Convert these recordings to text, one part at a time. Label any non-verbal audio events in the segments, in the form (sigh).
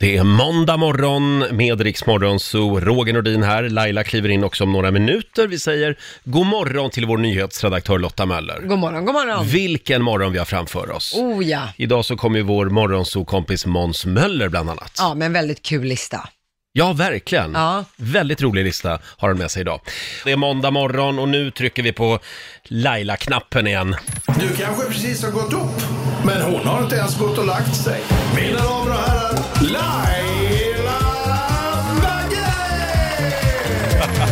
Det är måndag morgon med Rix Morgon, så Roger Nordin här. Laila kliver in också om några minuter. Vi säger god morgon till vår nyhetsredaktör Lotta Möller. God morgon, god morgon. Vilken morgon vi har framför oss. Oh ja. Idag så kommer ju vår morgonsokompis Måns Möller bland annat. Ja, men väldigt kul lista. Ja, verkligen. Ja. Väldigt rolig lista har han med sig idag. Det är måndag morgon och nu trycker vi på Laila-knappen igen. Du kanske precis har gått upp, men hon har inte ens gått och lagt sig. Mina damer och herrar, Laila Bagge!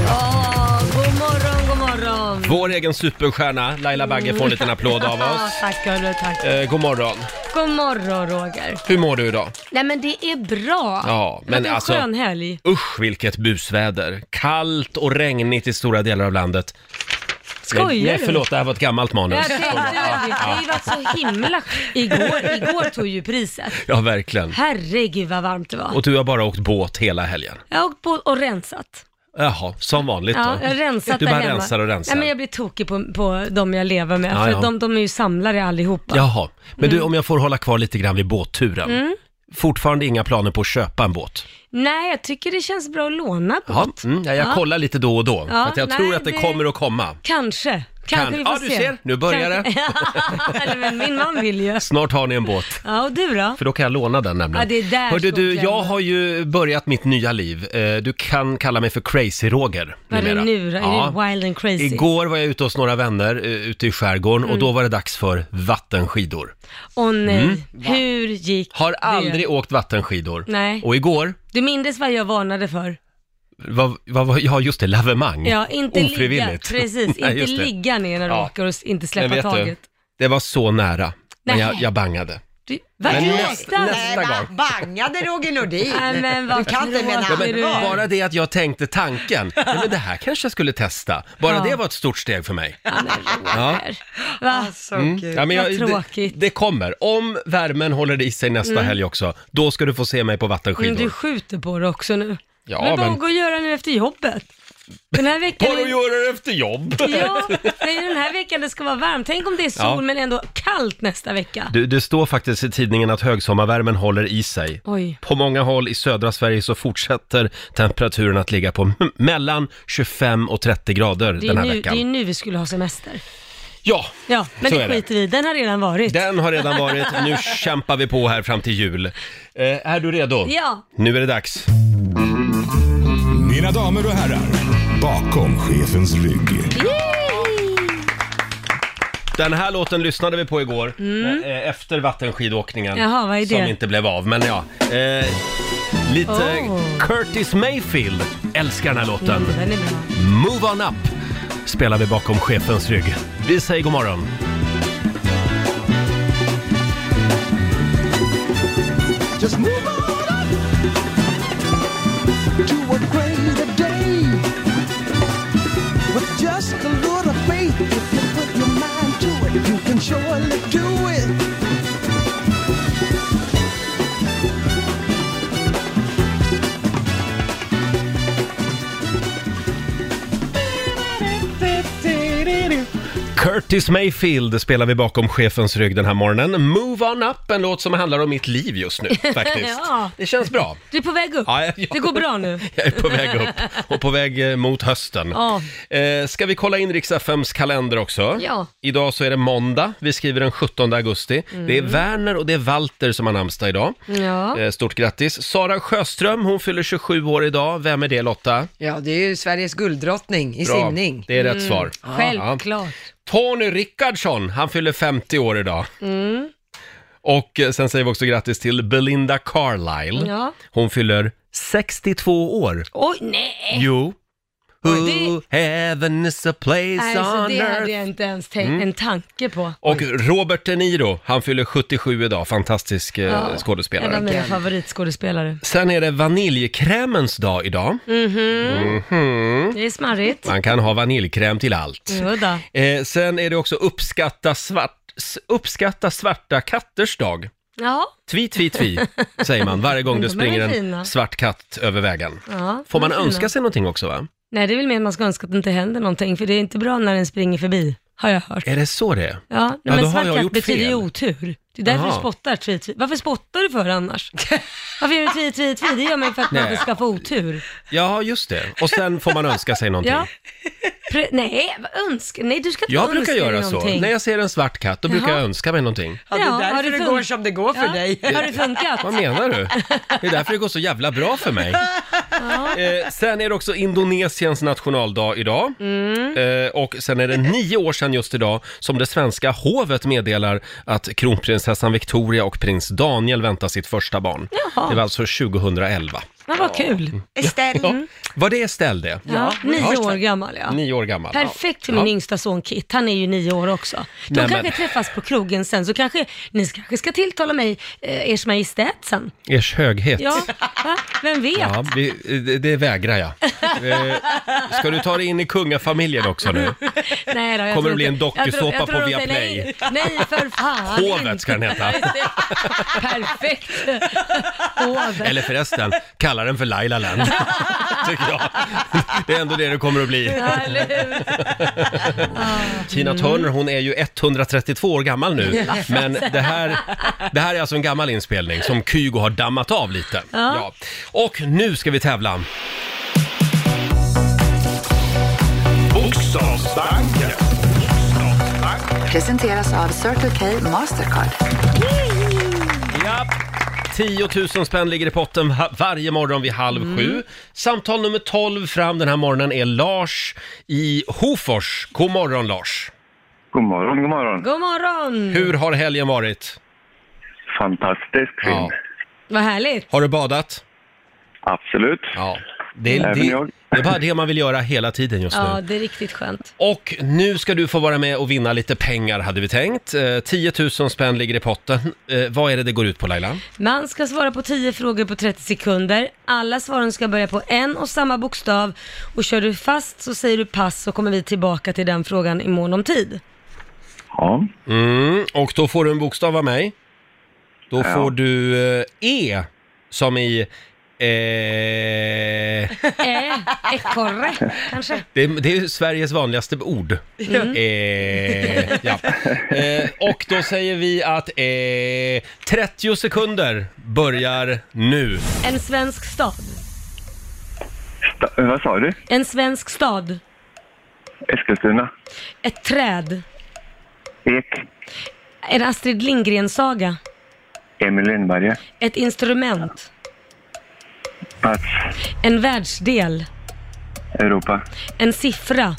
Ja, god morgon, god morgon. Vår egen superstjärna Laila Bagge får en liten (laughs) applåd av Ja, oss. tack hörru, tack. Eh, god morgon. God morgon Roger. Hur mår du idag? Nej men det är bra. Ja, men det är en alltså- skön helg. Usch vilket busväder. Kallt och regnigt i stora delar av landet. Skojar nej, nej, du? förlåt, det här var ett gammalt Jag manus. tänkte det. Det har ju varit så himla... Igår, igår tog ju priset. Ja, verkligen. Herregud vad varmt det var. Och du har bara åkt båt hela helgen. Jag har åkt på och rensat. Jaha, som vanligt då. Ja, jag har rensat du där bara hemma. rensar och rensar. Nej, men jag blir tokig på, på de jag lever med, Ja, för ja. De, de är ju samlare allihopa. Jaha, men Mm. du om jag får hålla kvar lite grann vid båtturen. Fortfarande inga planer på att köpa en båt? Nej, jag tycker det känns bra att lånat på. Jaha, mm, ja, jag Ja. kollar lite då och då. Ja, för att jag nej, tror att det, det- kommer att komma. Kanske. Kanske Kan- vi får Ja, du se. ser. Nu börjar det. Kanske- (laughs) Eller, men min man vill ju. Snart har ni en båt. Ja, och du då? För då kan jag låna den nämligen. Ja, det är där Mm. Hörde skon du, jag klämmer. har ju börjat mitt nya liv. Eh, Du kan kalla mig för Crazy Roger Vad är det nu då? Är det wild and crazy? Mm. Igår var jag ute hos några vänner eh, ute i skärgården och då var det dags för vattenskidor. Åh nej, Mm. hur gick Har det? aldrig åkt vattenskidor. Nej. Och igår, Du mindes vad jag varnade för? vad, vad, var- ja just det, lavemang. Ja, inte ligga. Mm. Ofrivilligt. Precis, inte (laughs) Nej, just det. ligga ner när du Ja. åker och s- inte Men släppa vet du, taget. Det var så nära. Nej. Men jag, jag bangade. Du, vad Men är näst- det? nästa va- gång. Bangade Roger Nordin. Nej, men du vad kan inte mena tråkig allvar. du är. Bara det att jag (laughs) tänkte tanken, nej, men det här kanske jag skulle testa. Bara Ja. det var ett stort steg för mig. Ja, men Roger. Va? Ah, Så kul. Mm. Ja, men Vad jag, det, tråkigt. det kommer. Om värmen håller i sig nästa helg också, då ska du få se mig på vattenskidor. Mm, du skjuter på det också nu. Ja, men bara men- gå och göra nu efter jobbet. Den här veckan... Bara att är- göra det efter jobb! Ja, det är den här veckan det ska vara varmt. Tänk om det är sol Ja. men ändå kallt nästa vecka. Du, det står faktiskt i tidningen att högsommarvärmen håller i sig. Oj. På många håll i södra Sverige så fortsätter temperaturen att ligga på m- mellan 25 och 30 grader Det är, den här nu, det är veckan. nu vi skulle ha semester. Ja, Ja, men Så är det det. skiter vi i. Den har redan varit. den har redan varit. (laughs) Nu kämpar vi på här fram till jul. Eh, är du redo? Ja. Nu är det dags. Mina damer och herrar, bakom chefens rygg. Den här låten lyssnade vi på igår, eh, eh, efter vattenskidåkningen. Mm. Jaha, vad är det? Som inte blev av, men ja. Eh, lite Oh. Curtis Mayfield älskar den här låten. Mm, Den är bra. Move on up spelar vi bakom chefens rygg. Vi säger god morgon. Just move on up to a greater day. With just a little faith, if you put your mind to it, you can surely do it. Curtis Mayfield spelar vi bakom chefens rygg den här morgonen. Move on up, en låt som handlar om mitt liv (laughs) just nu faktiskt. Ja. Det känns bra. Du är på väg upp. Ja, ja, ja. Det går bra nu. (laughs) Jag är på väg upp och på väg eh, mot hösten. Ja. Eh, ska vi kolla in Riks-FMs kalender också? Ja. Idag så är det måndag, vi skriver den 17 augusti. Det är Werner och det är Walter som har namnsdag idag. Mm. Ja. Eh, stort grattis! Sara Sjöström, hon fyller 27 år idag. Vem är det Lotta? Ja, det är ju Sveriges gulddrottning i Bra. simning. Mm. Det är rätt svar. Mm. (laughs) Självklart. Tony Rickardsson, han fyller 50 år idag. Mm. Och eh, sen säger vi också grattis till Belinda Carlisle. Ja. Hon fyller 62 år. Oj, nej! Jo. Who eh. det- heaven is a place Nej, så on det hade earth. jag inte ens tänkt Mm. en tanke på. Och Robert De Niro, han fyller 77 idag. Fantastisk eh, Ja. En av skådespelare. mina favoritskådespelare. Sen är det vaniljkrämens dag idag. Mm-hmm. Mm. Mhm. Det är smarrigt. Man kan ha vaniljkräm till allt. Jodå. Eh, sen är det också uppskatta, svart, s- uppskatta svarta katters dag. Ja, Tvi, (laughs) tvi, tvi, säger man varje gång De det är springer en fina. svart katt över vägen. ja. Får man de är fina. önska sig någonting också va? Nej, det är väl mer att man ska önska att det inte händer någonting, för det är inte bra när den springer förbi, har jag hört. Är det så det är? Ja, Ja, ja då men har jag svart katt gjort betyder fel. ju otur. Det är därför Jaha. du spottar tvi, tvi. Varför spottar du för annars? Varför gör du tvi, tvi, tvi? Det gör man ju för att man Nej. inte ska få otur. Ja, just det. Och sen får man önska (laughs) sig någonting. Ja. Pre- nej, vad önska. Nej, du ska inte Jag önska brukar dig göra någonting. så. När jag ser en svart katt, då brukar Jaha. jag önska mig någonting. Ja, det Ja, är har därför det det fun- går som det går för Ja. dig. (laughs) Har det funkat? Vad menar du? Det är därför det går så jävla bra för mig. Eh, sen är det också Indonesiens nationaldag idag. Mm. Eh, och sen är det nio år sedan just idag som det svenska hovet meddelar att kronprinsessan Victoria och prins Daniel väntar sitt första barn. Jaha. Det var alltså 2011. Ja, vad kul. Estelle. Var det Estelle det? Ja, nio år gammal ja. Nio år gammal. Perfekt till min Ja. yngsta son Kit, han är ju nio år också. De Nej, kanske men- träffas på krogen sen, så kanske ni kanske ska tilltala mig, eh, ers majestät sen. Ers höghet. Ja, va? vem vet? Ja, vi, det, det vägrar jag. Eh, ska du ta dig in i kungafamiljen också nu? (laughs) Nej, då, jag Kommer tror det bli inte- en dokusåpa jag tror- jag tror på de säger, Viaplay? Nej, nej, för fan. Hovet ska den heta. Just det. (laughs) Perfekt. Hovet. Eller förresten, kalla den för Laila Land. Tycker jag. Det är ändå det det kommer att bli. Ja, eller hur? (laughs) Tina Turner, hon är ju 132 år gammal nu. Men det här, det här är alltså en gammal inspelning som Kygo har dammat av lite. Ja. Och nu ska vi tävla. Bokstavsbanken. Presenteras av Circle K Mastercard. 10 000 spänn ligger i potten va- varje morgon vid halv sju. Samtal nummer 12 fram den här morgonen är Lars i Hofors. God morgon Lars! God morgon, god morgon. God morgon. Hur har helgen varit? Fantastiskt fin. Ja. Vad härligt. Har du badat? Absolut. Ja. Det är, Även det, jag. det är bara det man vill göra hela tiden just Ja, nu. det är riktigt skönt. Och nu ska du få vara med och vinna lite pengar hade vi tänkt. Eh, 10 000 spänn ligger i potten. Eh, vad är det det går ut på Laila? Man ska svara på 10 frågor på 30 sekunder. Alla svaren ska börja på en och samma bokstav. Och kör du fast så säger du pass så kommer vi tillbaka till den frågan i mån om tid. Ja. Mm, och då får du en bokstav av mig. Då får du eh, E som i... Eh, Eh, ekorre kanske? det, det är Sveriges vanligaste ord. Mm. Eh, ja. eh, och då säger vi att eh, 30 sekunder börjar nu. En svensk stad. Sta- vad sa du? En svensk stad. Eskilstuna. Ett träd. Ek. En Astrid Lindgren-saga. Emil Lindberg. Ett instrument. Pass. En världsdel. Europa. En siffra.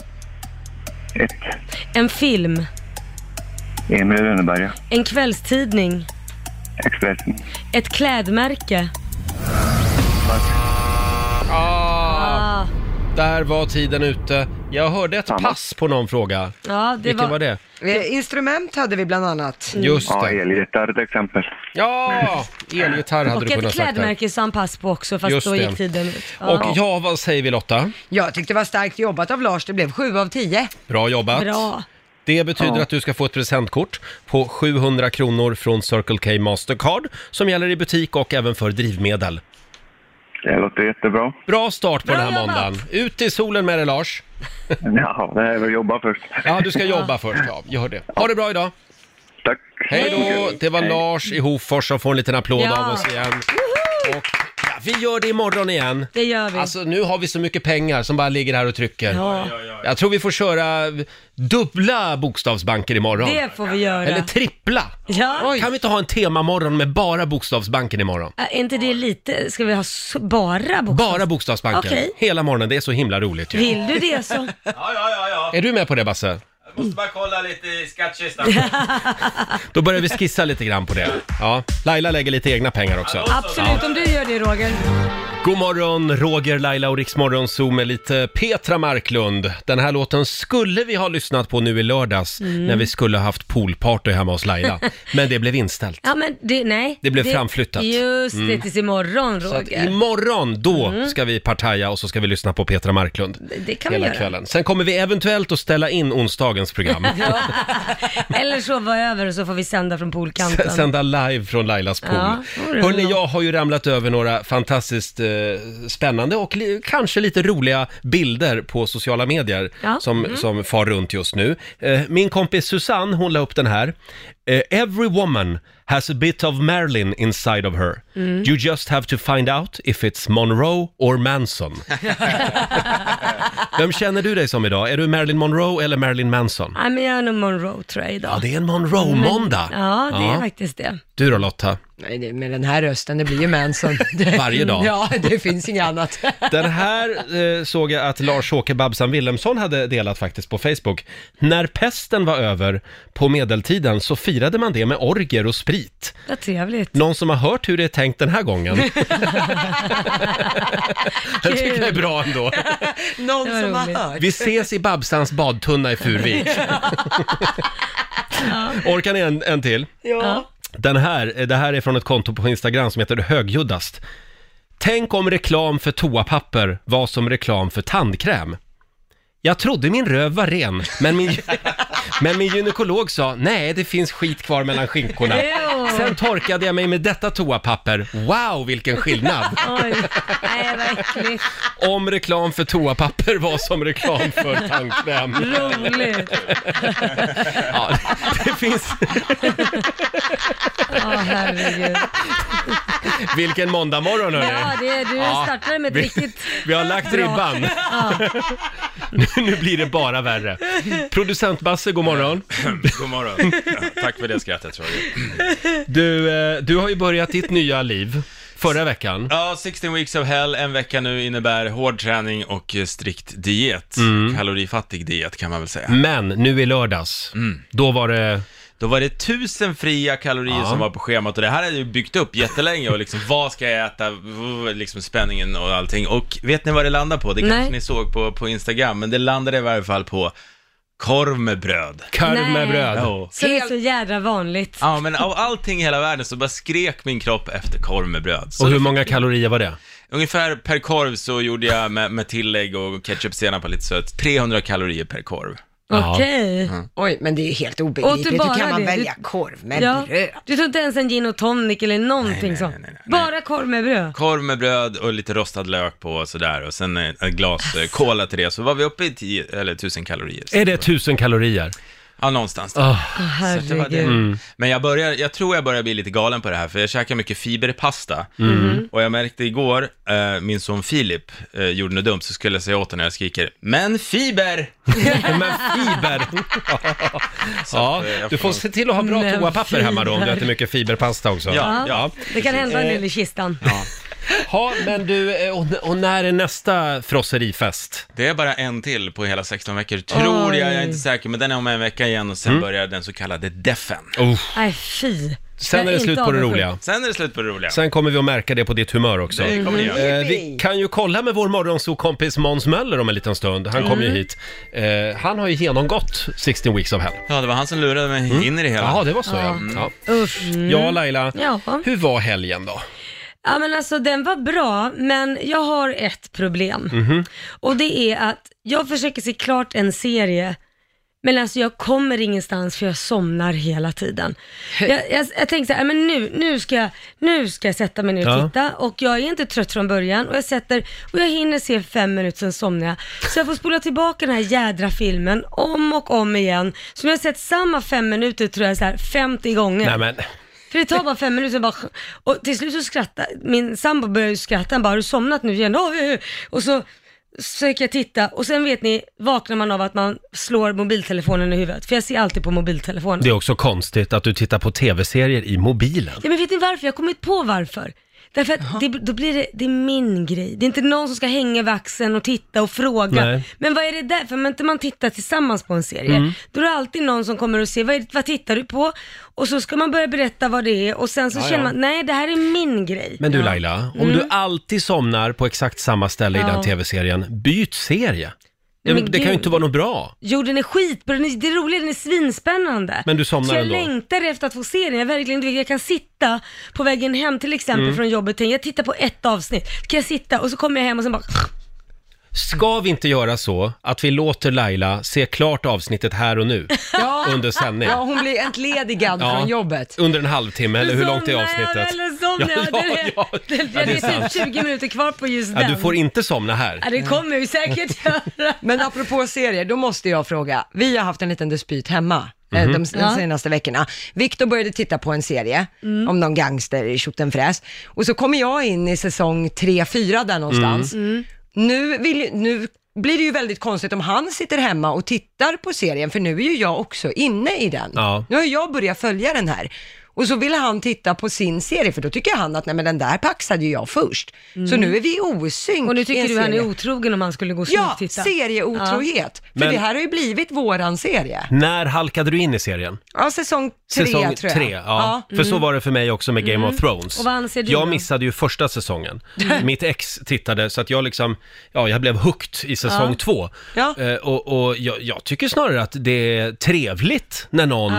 Ett. En film. Emil Lönneberga. En kvällstidning. Expressen. Ett klädmärke. Ah, Där var tiden ute. Jag hörde ett Samma. pass på någon fråga. ja, det Vilken var, var... Mm. det? Eh, Instrument hade vi bland annat. Just Ja, det. elgitarr till exempel. Ja, Ah, elgitarr hade Och du ett kunnat sagt där. klädmärke sa han pass på också, fast Just då det. gick tiden ut. Ja. Och ja, vad säger vi Lotta? Jag tyckte det var starkt jobbat av Lars, det blev sju av tio. Bra jobbat. Bra. Det betyder Ja. att du ska få ett presentkort på 700 kronor från Circle K Mastercard som gäller i butik och även för drivmedel. Det låter jättebra. Bra start på Bra den här jobbat. måndagen. Ut i solen med dig Lars. (laughs) Ja, det är väl jobba först. Ja, du ska jobba först. Ja, gör det. Ha det bra idag. Tack. Hej då! Det var Hej. Lars i Hofors som får en liten applåd Ja. av oss igen. Och, ja, vi gör det imorgon igen. Det gör vi. Alltså nu har vi så mycket pengar som bara ligger här och trycker. Ja. Jag tror vi får köra dubbla bokstavsbanker imorgon. det får vi göra. Eller trippla! Ja. Oj. Kan vi inte ha en temamorgon med bara bokstavsbanken imorgon? Är inte det lite... Ska vi ha s- bara bokstav? Bara Äh, bokstavsbanken. Okej. Hela morgonen, det är så himla roligt ju. Vill du det så... Ja, ja, ja, ja. (laughs) Är du med på det Basse? Jag måste bara kolla lite i skattkistan. Då börjar vi skissa lite grann på det. Ja, Laila lägger lite egna pengar också. Absolut, om du gör det Roger. God morgon, Roger, Laila och Riksmorgon Zoo med lite Petra Marklund. Den här låten skulle vi ha lyssnat på nu i lördags Mm. när vi skulle ha haft poolparty hemma (laughs) hos Laila. Men det blev inställt. Ja, men det, nej. Det blev framflyttat. Mm. Just det, tills imorgon Så att Roger. Mm. imorgon, då ska vi partaja och så ska vi lyssna på Petra Marklund. Det kan vi Hela göra. kvällen. Sen kommer vi eventuellt att ställa in onsdagens program. (laughs) Eller sova över och så får vi sända från poolkanten. S- (laughs) Sända live från Lailas pool. Ja, det är Hörni, bra. jag har ju ramlat över några fantastiskt eh, spännande och li- kanske lite roliga bilder på sociala medier Ja. mm. som, som far runt just nu. Eh, min kompis Susanne, hon la upp den här. eh, every woman has a bit of Marilyn inside of her. Mm. You just have to find out if it's Monroe (laughs) or Manson. Vem känner du dig som idag? Är du Marilyn Monroe eller Marilyn Manson? Nej, men jag är nog Monroe tror jag Ja, idag. det är en Monroe-måndag. Ja, det är Ja. faktiskt det. Du då Lotta? Nej, det- med den här rösten, det blir ju Manson. (laughs) Det- Varje dag. Ja, det finns inget annat. (laughs) Den här eh, såg jag att Lars-Åke Babsan Willemsson hade delat faktiskt på Facebook. När pesten var över på medeltiden så firade man det med orger och sprit. Vad trevligt. Någon som har hört hur det är tänkt den här (laughs) gången? jag tycker det är bra ändå. Någon var som roligt. har hört. Vi ses i Babsans badtunna i (laughs) Furvik. Orkar ni en, en till? Ja. Den här, eh, det här är från ett konto på Instagram som heter Högljuddast. Tänk om reklam för toapapper var som reklam för tandkräm. Jag trodde min röv var ren, men min, (laughs) men min gynekolog sa nej, det finns skit kvar mellan skinkorna. Ew. Sen torkade jag mig med detta toapapper. Wow, vilken skillnad! (laughs) Oj, nej vad (laughs) äckligt. Om reklam för toapapper var som reklam för tandkräm. Roligt. (laughs) Ja, det finns... Ja, herregud. Vilken måndagmorgon hörni! Ja, det, du startade med ett riktigt... Vi har lagt bra- ribban. nu, nu blir det bara värre. Producent Basse, god morgon. (clears throat) God morgon. Ja, tack för det skrattet Roger. Du, eh, du har ju börjat ditt nya liv förra veckan. Ja, 16 weeks of hell, en vecka nu innebär hård träning och eh, strikt diet. Kalorifattig diet kan man väl säga. Mm. Men nu i lördags, Mm. då var det... Då var det tusen fria kalorier som var på schemat och det här hade jag ju byggt upp jättelänge och liksom vad ska jag äta, v- liksom spänningen och allting. Och vet ni vad det landade på? Det kanske Nej. ni såg på, på Instagram, men det landade i varje fall på korv med bröd. Korv med Nej. bröd. Ja. Som är så jädra vanligt. Ja, men av allting i hela världen så bara skrek min kropp efter korv med bröd. Så Och hur många kalorier var det? ungefär per korv så gjorde jag med, med tillägg och ketchup, senap och lite sött, 300 kalorier per korv. Ja. Okej. Oj, men det är ju helt Åt du obegripligt. bara Hur kan man det? välja Du- korv med bröd? Du tog inte ens en gin och tonic eller någonting nej, sånt? nej, nej, nej. Bara korv med bröd? Korv med bröd och lite rostad lök på och sådär och sen eh, ett glas eh, cola till det så var vi uppe i 10, eller 1000 kalorier. Är det tusen kalorier? Ja, någonstans där. Ah, Åh, Så att det var det. herregud. Mm. Men jag, börjar, jag tror jag börjar bli lite galen på det här, för jag käkar mycket fiberpasta. Mm. Och jag märkte igår, eh, min son Filip eh, gjorde något dumt, så skulle jag säga åt honom när jag skriker ”Men fiber!” (laughs) men fiber! (laughs) ja, att, eh, jag du får får- se till att ha bra Men toapapper hemma då om du fiber. äter mycket fiberpasta också. Ja, ja. ja. Det kan hända en del i kistan. Ha, men du, eh, och, och när är nästa frosserifest? Det är bara en till på hela 16 veckor, tror Oj. jag, jag är inte säker, men den är om en vecka igen och sen Mm. börjar den så kallade defen. Nej, fy. Sen Jag är det inte slut på det avundsjuk. roliga. Sen är det slut på det roliga. Sen kommer vi att märka det på ditt humör också. Det kommer ni göra. Eh, vi kan ju kolla med vår morgonsokompis Måns Möller om en liten stund. Han kommer ju Mm. hit. Eh, han har ju genomgått 16 Weeks of Hell. Mm. Ja, det var han som lurade mig in i det hela. Jaha, det var så ja. Ja, Usch. Mm. ja Laila, Ja. hur var helgen då? Ja men alltså den var bra, men jag har ett problem. Mhm. Och det är att jag försöker se klart en serie, men alltså jag kommer ingenstans för jag somnar hela tiden. Jag, jag, jag tänker så här, men nu, nu, ska jag, nu ska jag sätta mig ner och Ja. titta och jag är inte trött från början och jag sätter, och jag hinner se fem minuter sen somnar jag. Så jag får spola tillbaka den här jädra filmen om och om igen. Så nu har jag sett samma fem minuter tror jag så här 50 gånger. Nej men, För det tar bara fem minuter bara, och till slut så skrattar min sambo börjar ju skratta, han bara har du somnat nu igen? Oj, oj, oj. Och så försöker jag titta och sen vet ni, vaknar man av att man slår mobiltelefonen i huvudet. För jag ser alltid på mobiltelefonen. det är också konstigt att du tittar på tv-serier i mobilen. Ja men vet ni varför? Jag har kommit på varför. Därför att det, då blir det, det är min grej. Det är inte någon som ska hänga vid axeln och titta och fråga. Nej. Men vad är det där? För om inte man tittar tillsammans på en serie, då är det alltid någon som kommer och säger vad, är det, vad tittar du på? Och så ska man börja berätta vad det är och sen så känner man, nej det här är min grej. Men du Laila, om du alltid somnar på exakt samma ställe i Mm. Ja. den tv-serien, byt serie. Det, Men det kan ju gud. inte vara något bra. Jo den är skitbra, den är, det är roligt, den är svinspännande. Men du somnar Så jag ändå. längtar efter att få se den. Jag, verkligen, jag kan sitta på vägen hem till exempel Mm. från jobbet, tänker, jag tittar på ett avsnitt, kan jag sitta och så kommer jag hem och sen bara Ska vi inte göra så att vi låter Laila se klart avsnittet här och nu (laughs) Ja. under sändning? Ja, hon blir entledigad Ja. från jobbet. Under en halvtimme, eller hur långt är Somnar jag avsnittet? eller somnar jag? Ja, Det är- ja, ja. det- Ja, det är det är sant. typ 20 minuter kvar på just Ja, den. du får inte somna här. Ja, det kommer jag ju säkert (laughs) göra. Men apropå serier, då måste jag fråga. Vi har haft en liten dispyt hemma. eh, Mhm. de, s- Ja. de senaste veckorna. Viktor började titta på en serie Mm. om någon gangster i Tjottenfräs. Och så kommer jag in i säsong 3-4 där någonstans. Mm. Nu, vill, ju- nu blir det ju väldigt konstigt om han sitter hemma och tittar på serien, för nu är ju jag också inne i den. Ja. Nu har jag börjat följa den här. Och så vill han titta på sin serie, för då tycker han att nej men den där paxade ju jag först. Så nu är vi i osynk Mm. Och nu i en tycker du han är serie. otrogen om han skulle gå och Ja, smygtitta. serieotrohet. För Men- det här har ju blivit våran serie. När halkade du in i serien? Ja, säsong tre Säsong tror jag. Mm. tre, ja. För så var det för mig också med Game of Thrones. Och vad anser du jag då? missade ju första (laughs) säsongen. Mitt ex tittade så att jag liksom, ja jag blev hooked i säsong två. Ja. Eh, och och jag, jag tycker snarare att det är trevligt när någon,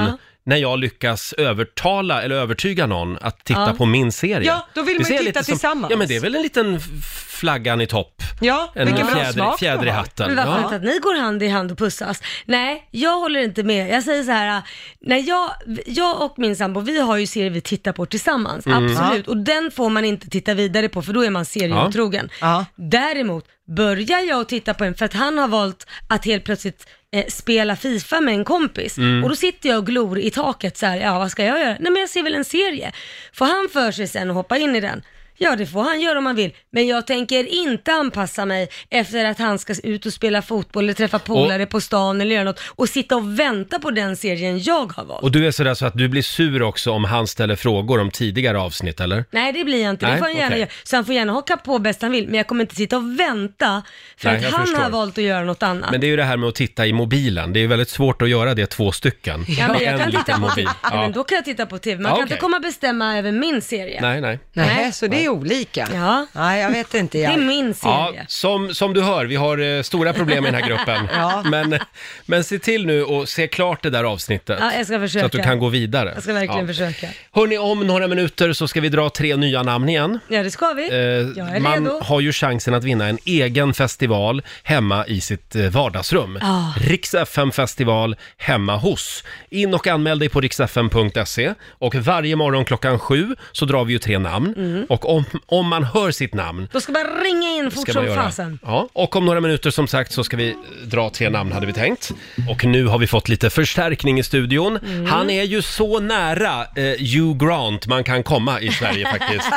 när jag lyckas övertala eller övertyga någon att titta på min serie. Ja, då vill man Det ju ser jag titta lite som- tillsammans. Ja men det är väl en liten f- flaggan i topp. Ja, En vilken bra fjäder, smak fjäder i du har. hatten. Men varför Ja. inte att ni går hand i hand och pussas? Nej, jag håller inte med. Jag säger så här, när jag, jag och min sambo, vi har ju serier vi tittar på tillsammans, Mm. absolut. Och den får man inte titta vidare på för då är man serieotrogen. Ja. Däremot, börjar jag att titta på en, för att han har valt att helt plötsligt eh, spela Fifa med en kompis Mm. och då sitter jag och glor i taket så här, ja vad ska jag göra? Nej men jag ser väl en serie. Får han för sig sen att hoppa in i den? Ja det får han göra om han vill, men jag tänker inte anpassa mig efter att han ska ut och spela fotboll eller träffa polare på stan eller göra något och sitta och vänta på den serien jag har valt. Och du är sådär så att du blir sur också om han ställer frågor om tidigare avsnitt eller? Nej det blir jag inte, Nej, det får han gärna okej. göra. Så han får gärna haka på bäst han vill, men jag kommer inte sitta och vänta för Nej, jag att han förstår. har valt att göra något annat. Men det är ju det här med att titta i mobilen. Det är ju väldigt svårt att göra det två stycken. Ja, men jag En kan titta liten på mobil. TV. Ja. Ja. Men då kan jag titta på TV. Man Ja, kan okej. inte komma och bestämma över min serie. Nej, nej. Nej, Nej. så det är olika. Ja. Nej, jag vet inte. Det är Jag. min Ja, serie. som, som du hör, vi har eh, stora problem i den här gruppen. (laughs) Ja. men, men se till nu och se klart det där avsnittet. Ja, jag ska försöka. Så att du kan gå vidare. Jag ska verkligen försöka. Hörni, om några minuter så ska vi dra tre nya namn igen. Ja, det ska vi. Eh, jag är man redo. har ju chansen att vinna en egen festival hemma i sitt eh, vardagsrum. Ah. Rix FM festival hemma hos. In och anmäl dig på riksfm.se och varje morgon klockan sju så drar vi ju tre namn och om, om man hör sitt namn Mm. Då ska man ringa in fort ska man som göra. fasen. Ja, och om några minuter som sagt så ska vi eh, dra tre namn hade vi tänkt. Och nu har vi fått lite förstärkning i studion. Mm. Han är ju så nära eh, Hugh Grant man kan komma i Sverige (laughs) faktiskt. (laughs)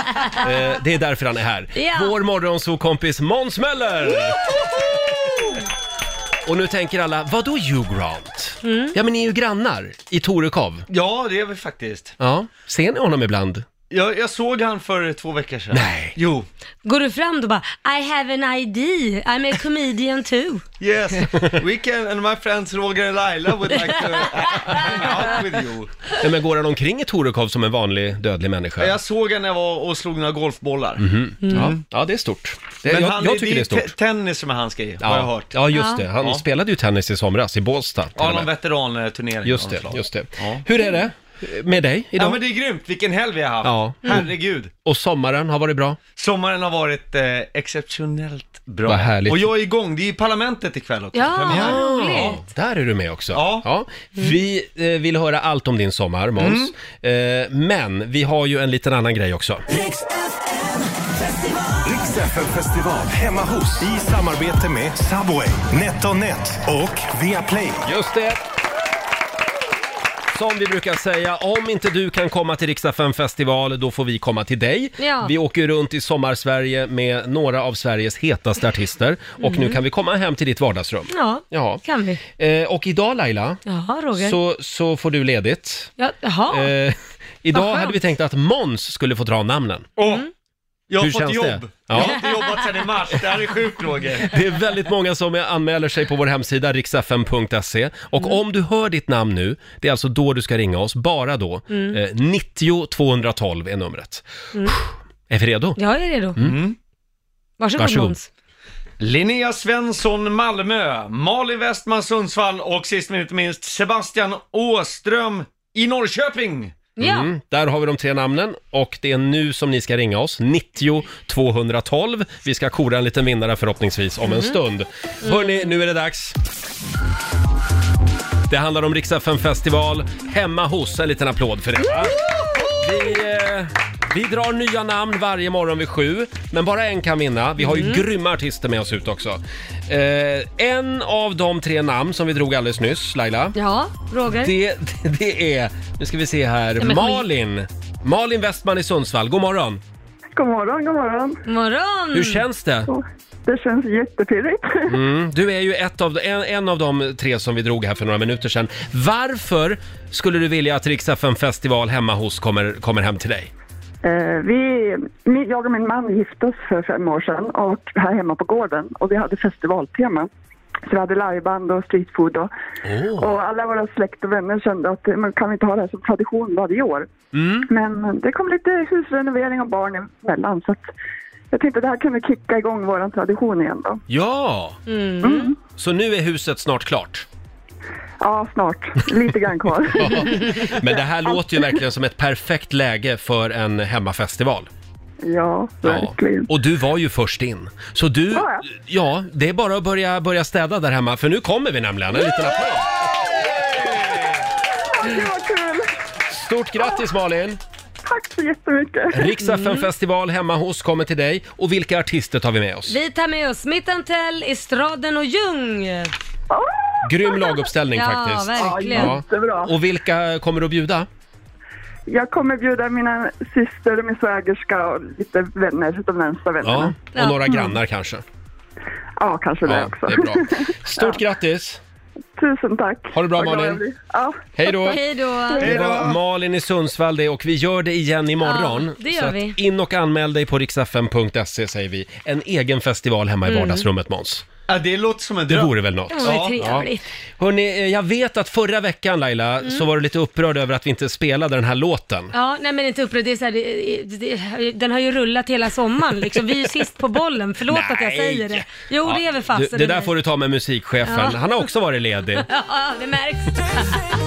Eh, det är därför han är här. Ja. Vår morgonsokompis Måns Möller! Och nu tänker alla, vad då Hugh Grant? Mm. Ja men ni är ju grannar i Torekov. Ja, det är vi faktiskt. Ja, ser ni honom ibland? Jag, jag såg han för två veckor sedan. Nej. Jo. Går du fram då bara I have an ID, I'm a comedian too. Yes, we can, and my friends Roger and Laila would like to hang out with you. Nej, men går han omkring i Torekov som en vanlig dödlig människa? Mhm. Jag såg han när jag var och slog några golfbollar. Ja, ja, det är stort. Det, Men Eh, jag han, jag tycker det är ju stort. te- tennis som är hans grej, har jag hört. ja just det. Han Ja. spelade ju tennis i somras i Båstad. till Ja, och någon med. veteranturnering. Just av något det, slag. just det. Ja. Hur är det med dig idag? Ja men det är grymt, vilken helg vi har haft. Ja. Herregud. Och sommaren har varit bra? Sommaren har varit eh, exceptionellt bra. Vad härligt. Och jag är igång, det är ju Parlamentet ikväll också. Ja, Premiär. vad roligt. Ja, där är du med också. Ja. Vi eh, vill höra allt om din sommar, Måns. Mm. Eh, men vi har ju en liten annan grej också. Rix FM festival hemma hos i samarbete med Subway, NetOnNet och Viaplay. Just det! Som vi brukar säga, om inte du kan komma till Riksdagen festival, då får vi komma till dig. Ja. Vi åker runt i sommarsverige med några av Sveriges hetaste artister och nu kan vi komma hem till ditt vardagsrum. Ja, Ja. Mm. kan vi. Eh, och idag Laila, Jaha, Roger. så, så får du ledigt. Ja, jaha. Eh, (laughs) idag skönt. hade vi tänkt att Mons skulle få dra namnen. Åh, jag har Hur fått känns jobb. det? Jag Ja. har inte jobbat sedan i mars, det här är sjukt Roger. Det är väldigt många som anmäler sig på vår hemsida riksfm.se och Mm. om du hör ditt namn nu, det är alltså då du ska ringa oss, bara då. Mm. Eh, 90 212 är numret. Är vi redo? Mm. Jag är redo. Mm. Varsågod, Varsågod. Måns. Linnea Svensson, Malmö, Malin Westman, Sundsvall och sist men inte minst Sebastian Åström i Norrköping. Ja, Mm, där har vi de tre namnen och det är nu som ni ska ringa oss, 90 212. Vi ska kora en liten vinnare förhoppningsvis om Mm. en stund. Hörni, nu är det dags. Det handlar om Riksaffen festival hemma hos. En liten applåd för det. va? Vi, eh, Vi drar nya namn varje morgon vid sju, men bara en kan vinna. Vi har Mm. ju grymma artister med oss ut också. Eh, en av de tre namn som vi drog alldeles nyss, Laila, Ja, Roger. det, (laughs) det är, nu ska vi se här, men kom igen. Malin. Malin Westman i Sundsvall, god morgon. God morgon, god morgon. Morgon! Hur känns det? Det känns jättepirrigt. Mm, du är ju ett av, en, en av de tre som vi drog här för några minuter sedan. Varför skulle du vilja att Rix FM festival hemma hos kommer, kommer hem till dig? (laughs) Eh, vi, min- jag och min man gifte oss för fem år sedan och här hemma på gården och vi hade festivaltema. Så vi hade liveband och streetfood och, och alla våra släkt och vänner kände att eh, man kan vi inte ha det här som tradition varje år. Mm. Men det kom lite husrenovering och barn emellan så att jag tänkte det här kan vi kicka igång vår tradition igen då. Ja! Mm. Mm. Så nu är huset snart klart. Ja, snart. Lite (laughs) grann kvar. Men det (laughs) här låter ju verkligen som ett perfekt läge för en hemmafestival. ja, verkligen. Och du var ju först in. Så du, Var jag? ja, det är bara att börja, börja städa där hemma, för nu kommer vi nämligen. En liten applåd. Det var kul! Stort grattis Malin! Tack så jättemycket. Rix FM festival hemma hos kommer till dig. Och vilka artister tar vi med oss? Vi tar med oss Smith Tell, Estraden och Ljung. Grym (laughs) laguppställning Ja, faktiskt. verkligen. Ja. Jättebra. Och vilka kommer du att bjuda? Jag kommer bjuda mina syster och min svägerska och lite vänner, de närmsta Ja, vännerna. och Ja. några grannar kanske. Ja, kanske det Ja, också. det är (laughs) bra. Stort grattis! Tusen tack. Ha det bra, Vad glad Malin. jag blir. Ja, Hej då! Hej då! Det var Malin i Sundsvall det och vi gör det igen imorgon. Ja, det gör så att vi. in och anmäl dig på riksfm.se E, säger vi. En egen festival hemma i vardagsrummet Måns. Ja, det låter som en Det dröm. vore väl något? Mm. Det var ju trevligt. Mm. Hörrni, eh, jag vet att förra veckan Laila så var du lite upprörd över att vi inte spelade den här låten. Ja, nej men inte upprörd. Det är så här, det, det, den har ju rullat hela sommaren liksom. (laughs) Vi är ju sist på bollen. Förlåt att jag Nej. säger det. Jo, det är väl fast. det, det där får du ta med musikchefen. Han har också varit ledig. (laughs) Ja, det (laughs) märks.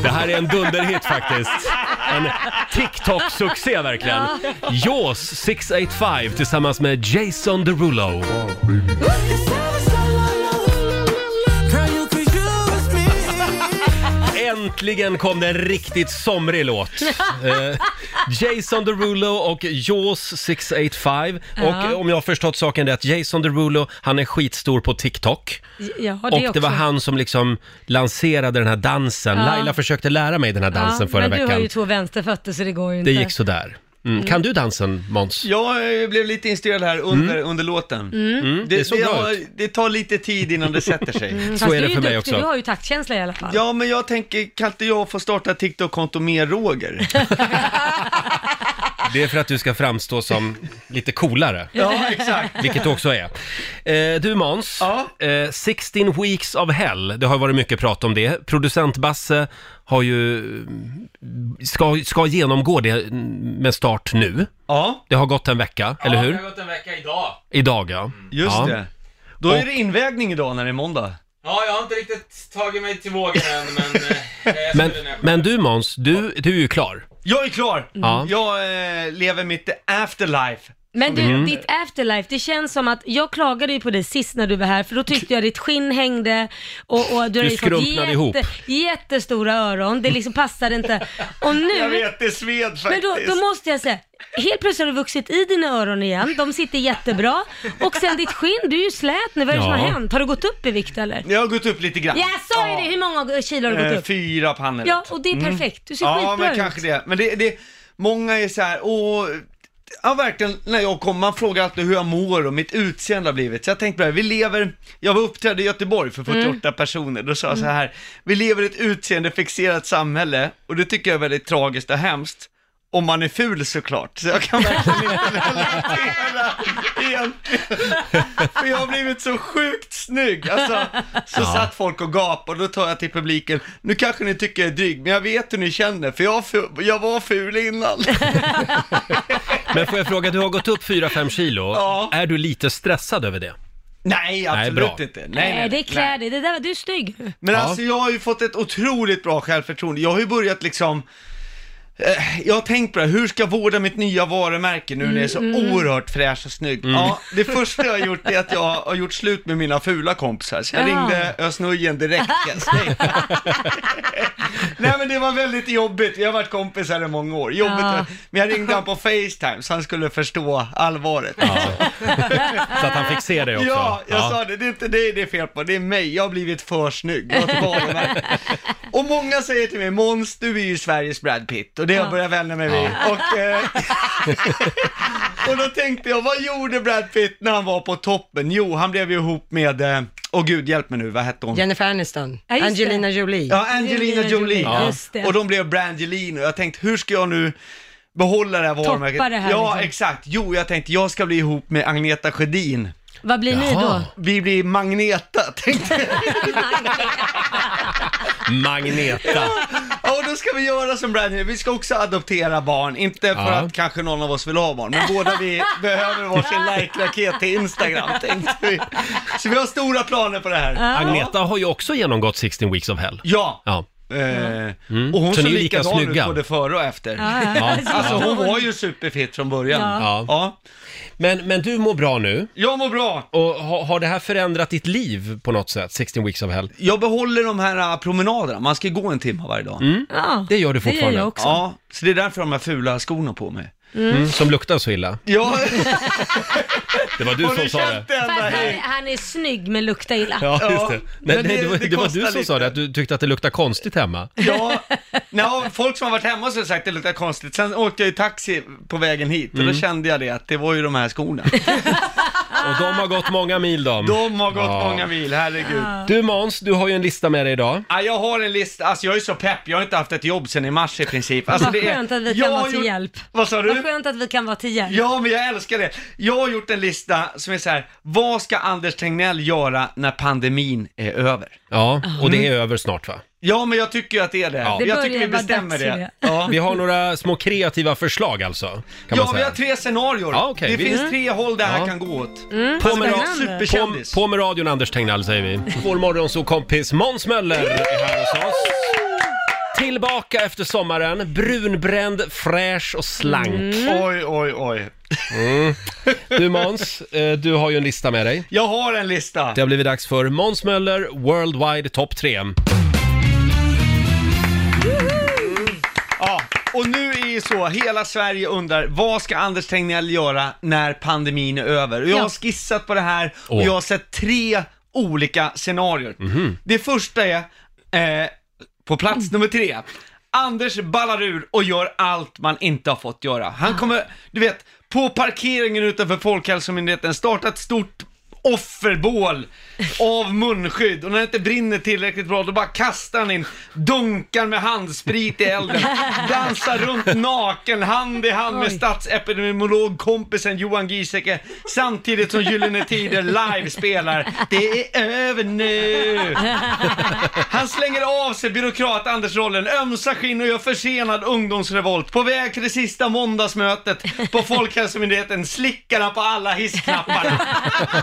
Det här är en dunderhit faktiskt. En TikTok-succé verkligen. Jaws 685 tillsammans med Jason Derulo. Äntligen kom det en riktigt somrig låt. Eh, Jason Derulo och Jaws 685. Och om jag har förstått saken rätt, Jason Derulo, han är skitstor på TikTok. Ja, det Och det också. var han som liksom lanserade den här dansen. Laila försökte lära mig den här dansen förra men veckan. du har ju två vänsterfötter så det går ju inte. Det gick sådär. Mm. Kan du dansen Måns? Jag eh, blev lite inspirerad här under, under låten. Mm. det såg bra har- det tar lite tid innan det sätter (laughs) sig. Mm, Så fast är det du ju för mig duktig. också. Du har ju taktkänsla i alla fall. Ja, men jag tänker, kan inte jag få starta ett TikTok-konto med Roger? Det är för att du ska framstå som lite coolare, (laughs) Ja, exakt. vilket du också är. Eh, du Måns, Ja. eh, 16 weeks of hell, det har varit mycket prat om det. Producent Basse har ju, mm, ska, ska genomgå det mm, med start nu. Ja, Det har gått en vecka, eller hur? gått en vecka idag. Idag ja. just ja. det. Då är det invägning idag när det är måndag. Ja, jag har inte riktigt tagit mig till vågen än, men... eh, Men, men du Måns, du, du är ju klar. Jag är klar! Ja. Jag eh, lever mitt afterlife. Men du, Mm. ditt afterlife, det känns som att jag klagade ju på dig sist när du var här för då tyckte jag ditt skinn hängde och, och du hade ju fått skrumpnade ihop. jättestora öron, det liksom passade inte. Och Jag nu, vet, det sved men faktiskt. då, då måste jag säga, helt plötsligt har du vuxit i dina öron igen, de sitter jättebra och sen ditt skinn, du är ju slät nu, vad är det som Ja. har hänt? Har du gått upp i vikt eller? Jag har gått upp lite grann. Ja, sa ju det, hur många kilo har du Eh, gått upp? Fyra pannor. Mm. Ja, och det är perfekt, du ser Ja, skitbra men ut. kanske det. Men det, det många är så här, och Ja, verkligen, när jag kom, man frågar alltid hur jag mår och mitt utseende har blivit. Så jag tänkte på det här, vi lever, jag var uppträdd i Göteborg för Mm. 48 personer, då sa jag så här, vi lever i ett utseendefixerat samhälle och det tycker jag är väldigt tragiskt och hemskt. Om man är ful såklart, så jag kan verkligen inte relatera egentligen. (laughs) För jag har blivit så sjukt snygg. Alltså, (laughs) så satt folk och gapade och då tar jag till publiken, nu kanske ni tycker jag är dryg, men jag vet hur ni känner, för jag, fu- jag var ful (laughs) innan. Men får jag fråga, du har gått upp 4-5 kilo. Ja. Är du lite stressad över det? Nej, absolut bra. inte. Nej, Nej, Eh, det är kläder, det där, du är snygg. Men Ja. alltså jag har ju fått ett otroligt bra självförtroende. Jag har ju börjat liksom eh, jag har tänkt på det här, hur ska jag vårda mitt nya varumärke nu när jag är så Mm, oerhört fräsch och snygg? Mm. Ja, det första jag har gjort är att jag har gjort slut med mina fula kompisar, så jag Ja. ringde Özz Nujen direkt. Jag säger. (laughs) Nej men det var väldigt jobbigt, vi har varit kompisar i många år. Jobbigt, Ja. men jag ringde han på Facetime så han skulle förstå allvaret. (laughs) Så att han fick se det också. Ja, jag sa det. Det är inte dig det är fel på, det är mig. Jag har blivit för snygg. Jag har ett (laughs) varumärke. och många säger till mig, Måns, du är ju Sveriges Brad Pitt. Och det Ah. har jag börjat vänja mig vid. Ja. Och, eh, och då tänkte jag, vad gjorde Brad Pitt när han var på toppen? Jo, han blev ju ihop med, eh, åh gud, hjälp mig nu, vad hette hon? Jennifer Aniston, Ja, just det. Angelina Jolie. Ja, Angelina Jolie. Ja. Och de blev Brangelino. Jag tänkte, hur ska jag nu behålla det här Toppa varumärket? det här, ja, liksom. exakt. Jo, jag tänkte, jag ska bli ihop med Agneta Sjödin. Vad blir ni då? Vi blir Magneta, tänkte jag. (laughs) Magneta. Ja, och då ska vi göra som Brandon. Vi ska också adoptera barn. Inte för Ja. att kanske någon av oss vill ha barn, men båda vi behöver varsin like-raket till Instagram, tänkte vi. Så vi har stora planer på det här. Agneta har ju också genomgått 16 weeks of hell. Ja. Eh, ja. Mm. Och hon Så såg ni är likadan ut både före och efter. Ja, ja. (laughs) Alltså hon var ju superfit från början. Ja. Men, men du mår bra nu? Jag mår bra! Och har, har det här förändrat ditt liv på något sätt, 16 weeks of hell? Jag behåller de här äh, promenaderna, man ska gå en timme varje dag. Ja, Mm. det gör du fortfarande. Det gör jag också. Ja, så det är därför de här fula skorna på mig. Mm. Mm, som luktar så illa. Ja, Det var du Har som ni sa det. känt det? Fast han, han är snygg men luktar illa. Ja, just det. Nej, men nej, det- det, var, det det var kostar du som sa det, att du tyckte att det luktade konstigt hemma. Ja, no, folk som har varit hemma så har sagt att det luktar konstigt. Sen åkte jag i taxi på vägen hit och Mm. då kände jag det att det var ju de här skorna. Och de har gått många mil de. De har gått Ja. många mil, herregud. Du Måns, du har ju en lista med dig idag. Ja, jag har en lista, alltså jag är så pepp, jag har inte haft ett jobb sedan i mars i princip. Alltså, vad det är- skönt att vi jag kan vara har till gjort- hjälp. Vad sa Vad du? skönt att vi kan vara till hjälp. Ja, men jag älskar det. Jag har gjort en lista som är så här, vad ska Anders Tegnell göra när pandemin är över? Mm. Ja, och det är över snart va? Ja, men jag tycker ju att det är det. Ja. Mm. Det Jag tycker vi börjar vara bestämmer dags det. för det. Vi har några små kreativa förslag alltså, kan man Ja, säga. vi har tre scenarier. Ja, okej, det vi- finns tre håll där Ja. här kan gå åt. Mm. På med, Alltså, ra- på, på med radion Anders Tegnell säger vi. Vår morgonsåkompis Måns Möller är här hos oss. Tillbaka efter sommaren, brunbränd, fräsch och slank. Mm. Oj, oj, oj. Mm. Du Måns, eh, du har ju en lista med dig. Jag har en lista. Det har blivit dags för Måns Möller Worldwide Top 3. Ja, och nu är ju så, hela Sverige undrar, vad ska Anders Tegnell göra när pandemin är över? Och jag har Ja. skissat på det här och Åh. jag har sett tre olika scenarier. Mhm. Det första är, eh, på plats nummer tre, Anders ballar ur och gör allt man inte har fått göra. Han kommer, du vet, på parkeringen utanför Folkhälsomyndigheten starta ett stort offerbål av munskydd och när det inte brinner tillräckligt bra då bara kastar han in dunkar med handsprit i elden, dansar runt naken hand i hand med Oj. statsepidemiologkompisen Johan Giesecke samtidigt som Gyllene Tider live spelar Det är över nu! Han slänger av sig byråkrat-Anders-rollen, ömsa skinn och gör försenad ungdomsrevolt. På väg till det sista måndagsmötet på Folkhälsomyndigheten slickar han på alla hissknapparna.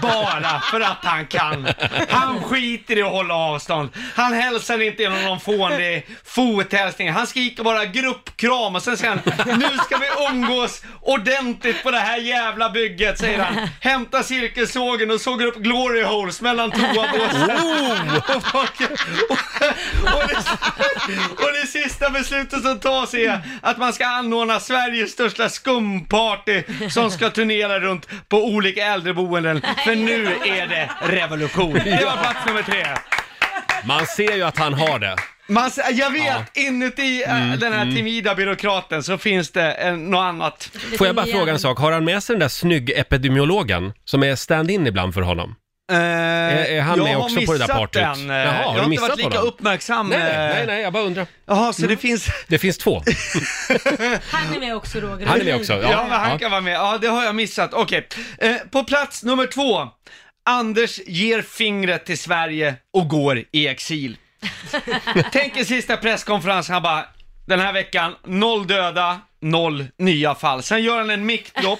Bara för att han kan. Han skiter i att hålla avstånd. Han hälsar inte genom någon fånig fothälsning. Han skriker bara gruppkram och sen säger han nu ska vi umgås ordentligt på det här jävla bygget, säger han. Hämtar cirkelsågen och sågar upp glory holes mellan toabåsen. Och folk- (laughs) och det, och det sista beslutet som tas är att man ska anordna Sveriges största skumparty som ska turnera runt på olika äldreboenden. För nu är det revolution. (laughs) Det var plats nummer tre. Man ser ju att han har det. Man, s- jag vet, inuti äh, Mm, den här mm. timida byråkraten så finns det eh, något annat. Får jag bara fråga en sak, har han med sig den där snygg-epidemiologen som är stand-in ibland för honom? Är- är han Eh, jag med har också på det där missat partyt? den, eh, Jaha, har jag du har inte missat varit på lika den? uppmärksam. Nej, eh, nej, nej, jag bara undrar. Jaha, så Mm. det finns... Det (laughs) finns två. Han är med också Roger. Han är med också, ja. Ja, men han Ja. kan vara med. Ja, det har jag missat. Okej. Eh, på plats nummer två. Anders ger fingret till Sverige och går (laughs) i exil. Tänk er sista presskonferensen, han bara (laughs) den här veckan, noll döda, noll nya fall. Sen gör han en mickdropp,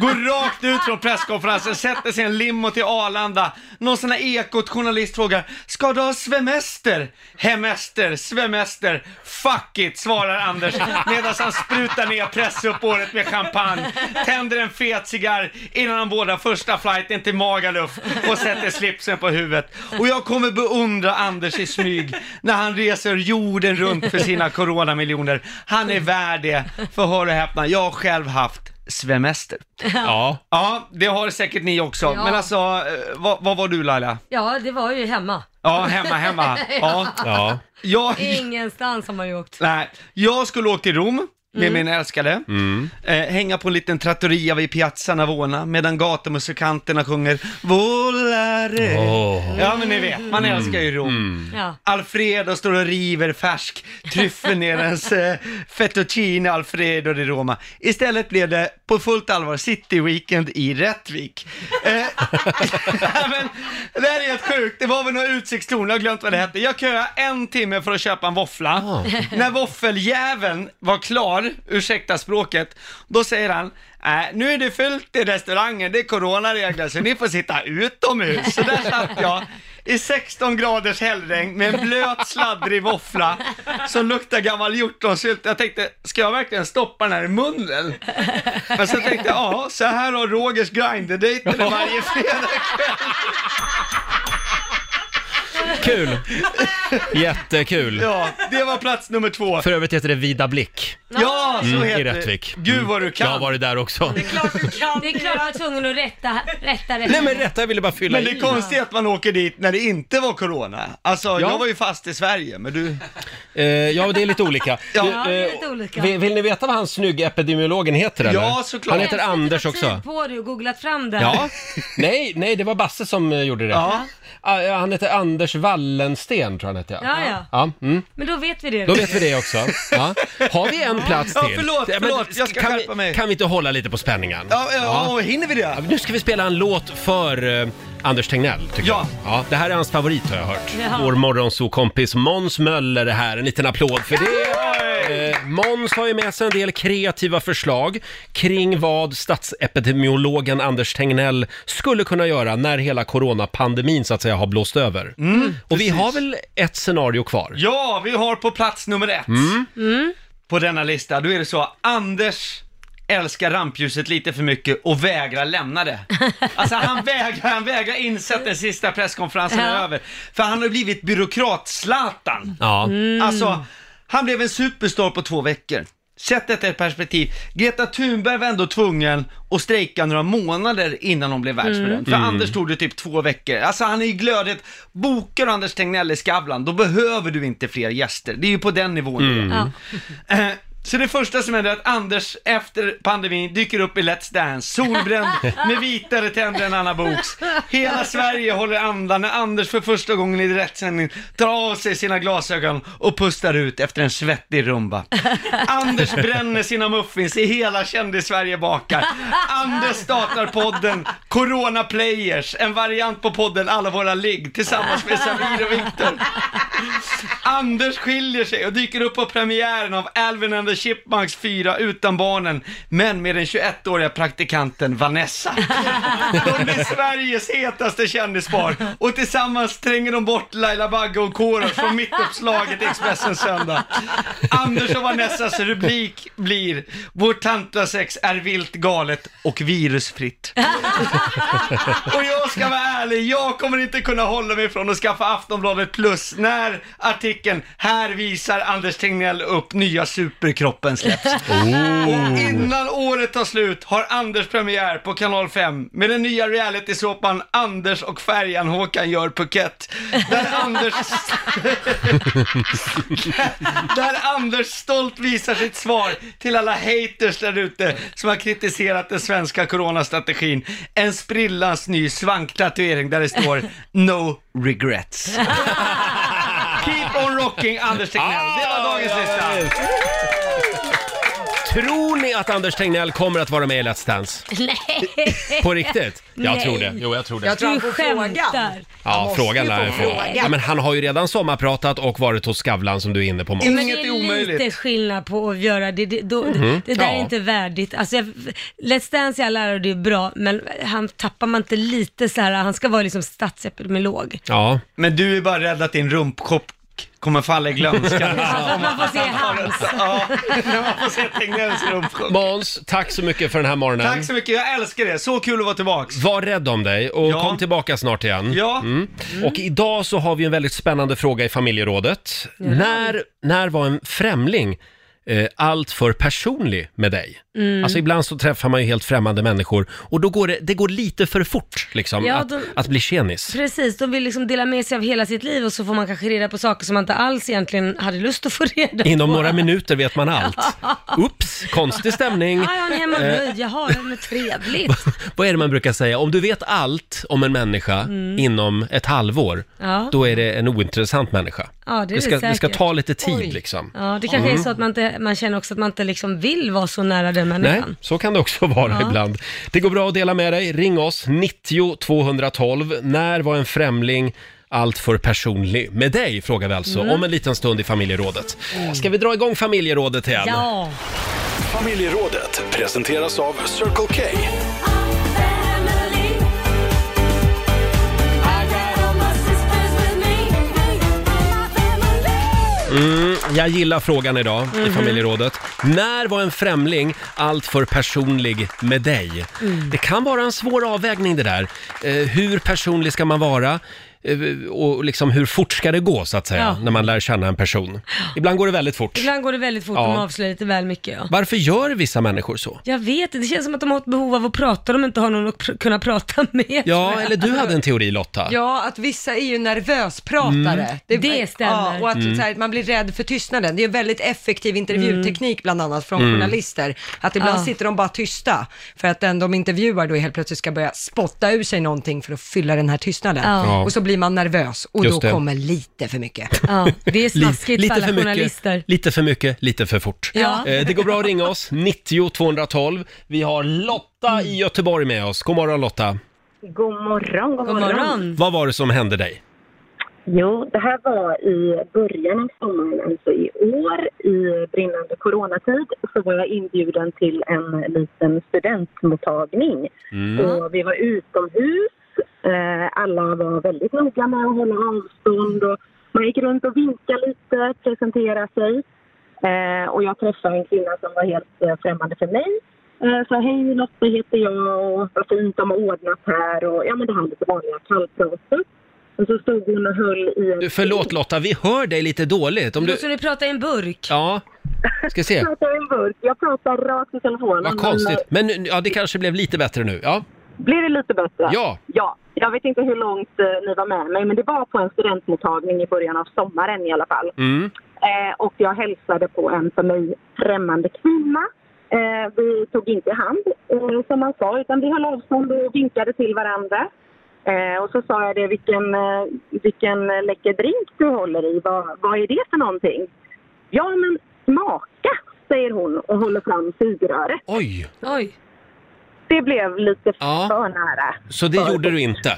går rakt ut från presskonferensen, sätter sig i en limo till Arlanda. Någon sån här Ekot-journalist frågar, ska du ha svemester? Hemester, svemester, fuck it, svarar (laughs) Anders medan han sprutar ner pressuppbåret med champagne, tänder en fet cigarr innan han vårdar första flighten till Magaluf och sätter slipsen på huvudet. Och jag kommer beundra Anders i smyg när han reser jorden runt för sina coronamiljoner. Han är värd det, för hör och häpna, jag har själv haft svemester. Ja. Ja, det har säkert ni också. Ja. Men alltså, eh, vad, vad var du Laila? (laughs) Ja, det var ju hemma. Ja, (laughs) hemma, hemma. Ja. Ja. Jag, Ingenstans har man ju åkt. nej, jag skulle åka till Rom med Mm. min älskade. Mm. Eh, hänga på en liten trattoria vid Piazza Navona medan gatumusikanterna sjunger Volare. Åh. Ja, men ni vet, man Mm. älskar ju Rom. Ja. Alfredo står och river färsk tryffel ner ens eh, fettuccine Alfredo di Roma. Istället blev det på fullt allvar City Weekend i Rättvik. Eh, nej, men, det här är helt sjukt, det var väl några utsiktstorn, jag har glömt vad det hette. Jag köade en timme för att köpa en våffla. När våffeljäveln var klar, ursäkta språket, då säger han Nej, nu är det fullt i restaurangen, det är coronaregler så ni får sitta utomhus. Så där satt jag i 16 graders hällregn med en blöt sladdrig våffla som luktar gammal hjortronsylt. Jag tänkte, ska jag verkligen stoppa den här i munnen? Men så tänkte jag, ja, så här har Rogers grinderdejter varje fredag. Kul! Jättekul! Ja, det var plats nummer två. För övrigt heter det Vida Blick. Ja, så Mm, heter I det. Rättvik. Mm. Gud vad du kan. Jag har varit där också. Det är klart jag var tvungen att rätta, rätta, rätta. Nej men rätta, jag ville bara fylla Men det i. är konstigt att man åker dit när det inte var corona. Alltså, jag var ju fast i Sverige, men du... Eh, ja, det är lite olika. (laughs) Ja. Du, eh, Ja, det är lite olika. Vill, vill ni veta vad han snygga epidemiologen heter eller? Ja, såklart. Han heter Jag har Anders suttit också. tid på dig och googlat fram det. Ja. Nej, nej, det var Basse som eh, gjorde det. Ja. Ah, ja, Han heter Anders Wallensten, tror jag han heter. Ja, ja. ja mm. Men då vet vi det. Då vet vi det också. Ja. Har vi en plats till? Ja, förlåt, men förlåt. Jag ska kan skärpa vi, mig. Kan vi inte hålla lite på spänningen? Ja, ja, och hinner vi det? nu ska vi spela en låt för eh, Anders Tegnell, tycker Ja. jag. Ja, det här är hans favorit har jag hört. Ja. Vår morgonsokompis Måns Möller är här. En liten applåd för det. Eh, Måns har ju med sig en del kreativa förslag kring vad statsepidemiologen Anders Tegnell skulle kunna göra när hela coronapandemin så att säga har blåst över. Och vi har väl ett scenario kvar? Ja, vi har på plats nummer ett. På denna lista, då är det så, Anders älskar rampljuset lite för mycket och vägrar lämna det. Alltså han vägrar, han vägrar inse att den sista presskonferensen Ja. är över. För han har blivit byråkrat-Zlatan. Ja. Mm. Alltså, han blev en superstar på två veckor. Sätt detta i ett perspektiv. Greta Thunberg var ändå tvungen att strejka några månader innan hon blev världsberömd. Mm. För Mm. Anders tog det typ två veckor. Alltså han är ju glödigt. Bokar du Anders Tegnell i Skavlan, då behöver du inte fler gäster. Det är ju på den nivån det är. Mm. Ja. Eh, Så det första som händer är att Anders efter pandemin dyker upp i Let's Dance, solbränd med vitare tänder än Anna Boks. Hela Sverige håller andan när Anders för första gången i direktsändning tar av sig sina glasögon och pustar ut efter en svettig rumba. Anders bränner sina muffins i hela kändis-Sverige bakar. Ah. Anders startar podden Corona Players, en variant på podden Alla våra ligg tillsammans med Samir och Viktor. Anders skiljer sig och dyker upp på premiären av Alvin and the Chipmunks 4 utan barnen, men med den 21-åriga praktikanten Vanessa. De blir Sveriges hetaste kändispar och tillsammans tränger de bort Laila Bagge och Korosh från mittuppslaget i Expressen söndag. Anders och Vanessas rubrik blir Vårt tantrasex är vilt galet och virusfritt. Och jag ska vara ärlig, jag kommer inte kunna hålla mig från att skaffa Aftonbladet plus när artikeln “Här visar Anders Tegnell upp nya superkroppen” släpps. Och innan året tar slut har Anders premiär på kanal 5 med den nya realitysåpan Anders och färjan Håkan gör Phuket. Där Anders, (laughs) där Anders stolt visar sitt svar till alla haters där ute som har kritiserat den svenska coronastrategin. En sprillans ny svanktatuering där det står “No regrets”. Keep on rocking Anders Tegnell. Det var dagens lista. Tror ni att Anders Tegnell kommer att vara med i Let's Dance? Nej! På riktigt? Jag Nej. tror det. Jo, jag tror det. Jag tror han får frågan. Ja, Ja, frågan lär jag få. Ja, men han har ju redan sommarpratat och varit hos Skavlan som du är inne på. Måns. men det är lite skillnad på att göra det. Det, då, Mhm. det där Ja. är inte värdigt. Alltså, jag, Let's Dance i all ära och det är bra, men han tappar man inte lite så här, han ska vara liksom statsepidemiolog. Ja. Men du är bara rädd att din rumpkopp kommer falla i glömskan. Alltså att (laughs) man får (laughs) se hans. Måns, tack så mycket för den här morgonen. Tack så mycket, jag älskar det. Så kul att vara tillbaks. Var rädd om dig och kom tillbaka snart igen. Ja. Mm. Och idag så har vi en väldigt spännande fråga i familjerådet. När, när var en främling eh, allt för personlig med dig? Mm. Alltså ibland så träffar man ju helt främmande människor och då går det, det går lite för fort liksom Ja, att, de- att bli tjenis. Precis, de vill liksom dela med sig av hela sitt liv och så får man kanske reda på saker som man inte alls egentligen hade lust att få reda på. Inom några minuter vet (laughs) man allt. Oops, konstig stämning. Ja, han är hemma Eh, nöjd. Jaha, ja, men trevligt. Vad är det man brukar säga? Om du vet allt om en människa Mm. inom ett halvår, Ja. (laughs) då är det en ointressant människa. Ja, det är det ska, ska säkert. ta lite tid Oj. liksom. Ja, det kanske Mm. är så att man, inte, man känner också att man inte liksom vill vara så nära den Nej, människan. så kan det också vara Ja. ibland. Det går bra att dela med dig. Ring oss, 90 212. När var en främling allt för personlig med dig? Frågar vi alltså Mm. om en liten stund i familjerådet. Ska vi dra igång familjerådet igen? Ja. Familjerådet presenteras av Circle K. Mm, jag gillar frågan idag i Mhm. familjerådet. När var en främling allt för personlig med dig? Mm. Det kan vara en svår avvägning det där. Eh, hur personlig ska man vara? Eh, och liksom hur fort ska det gå så att säga, Ja. när man lär känna en person? Ibland går det väldigt fort. Ibland går det väldigt fort Ja. och man avslöjar lite väl mycket. Ja. Varför gör vissa människor så? Jag vet inte, det känns som att de har ett behov av att prata, de inte har någon att pr- kunna prata (laughs) med. Ja, eller du hade en teori Lotta. Ja, att vissa är ju nervöspratare. Mm. Det, stämmer. Ja, och att Mm. så här, man blir rädd för tystnaden. Det är en väldigt effektiv intervjuteknik bland annat från Mm. journalister. Att ibland Ja. sitter de bara tysta för att den de intervjuar då helt plötsligt ska börja spotta ur sig någonting för att fylla den här tystnaden. Ja. Och så blir man nervös och Just då det. kommer lite för mycket. Ja, det är Li- snaskigt för alla journalister. Mycket, lite för mycket, lite för fort. Ja. Eh, det går bra att ringa oss, 90 212. Vi har Lotta i Göteborg med oss. God morgon Lotta. God morgon, god, morgon. Vad var det som hände dig? Jo, det här var i början av sommaren, alltså i år, i brinnande coronatid, så var jag inbjuden till en liten studentmottagning. Och vi var utomhus, eh, alla var väldigt noga med att hålla avstånd och man gick runt och vinkade lite, presenterade sig. Eh, och jag träffade en kvinna som var helt eh, främmande för mig. Eh, så hej Lotta heter jag och vad fint de har ordnat här och ja men det här lite vanliga kallpratet. Och så stod hon och höll i en... Du, förlåt Lotta, vi hör dig lite dåligt. Om Det du... låter som du pratar i en burk. Ja, ska se. Jag pratar i en burk, jag pratar rakt i telefonen. (laughs) Vad konstigt. Men nu- ja, det kanske blev lite bättre nu. Ja. Blir det lite bättre? Ja. Ja. Jag vet inte hur långt eh, ni var med mig, men det var på en studentmottagning i början av sommaren i alla fall. Mm. Eh, och jag hälsade på en för mig främmande kvinna. Eh, vi tog inte i hand, eh, som man sa, utan vi höll avstånd och vinkade till varandra. Eh, och så sa jag det, vilken, eh, vilken eh, läcker drink du håller i, vad, vad är det för någonting? Ja, men smaka, säger hon och håller fram sugröret. Oj! Oj! Det blev lite för nära. Så det gjorde du inte?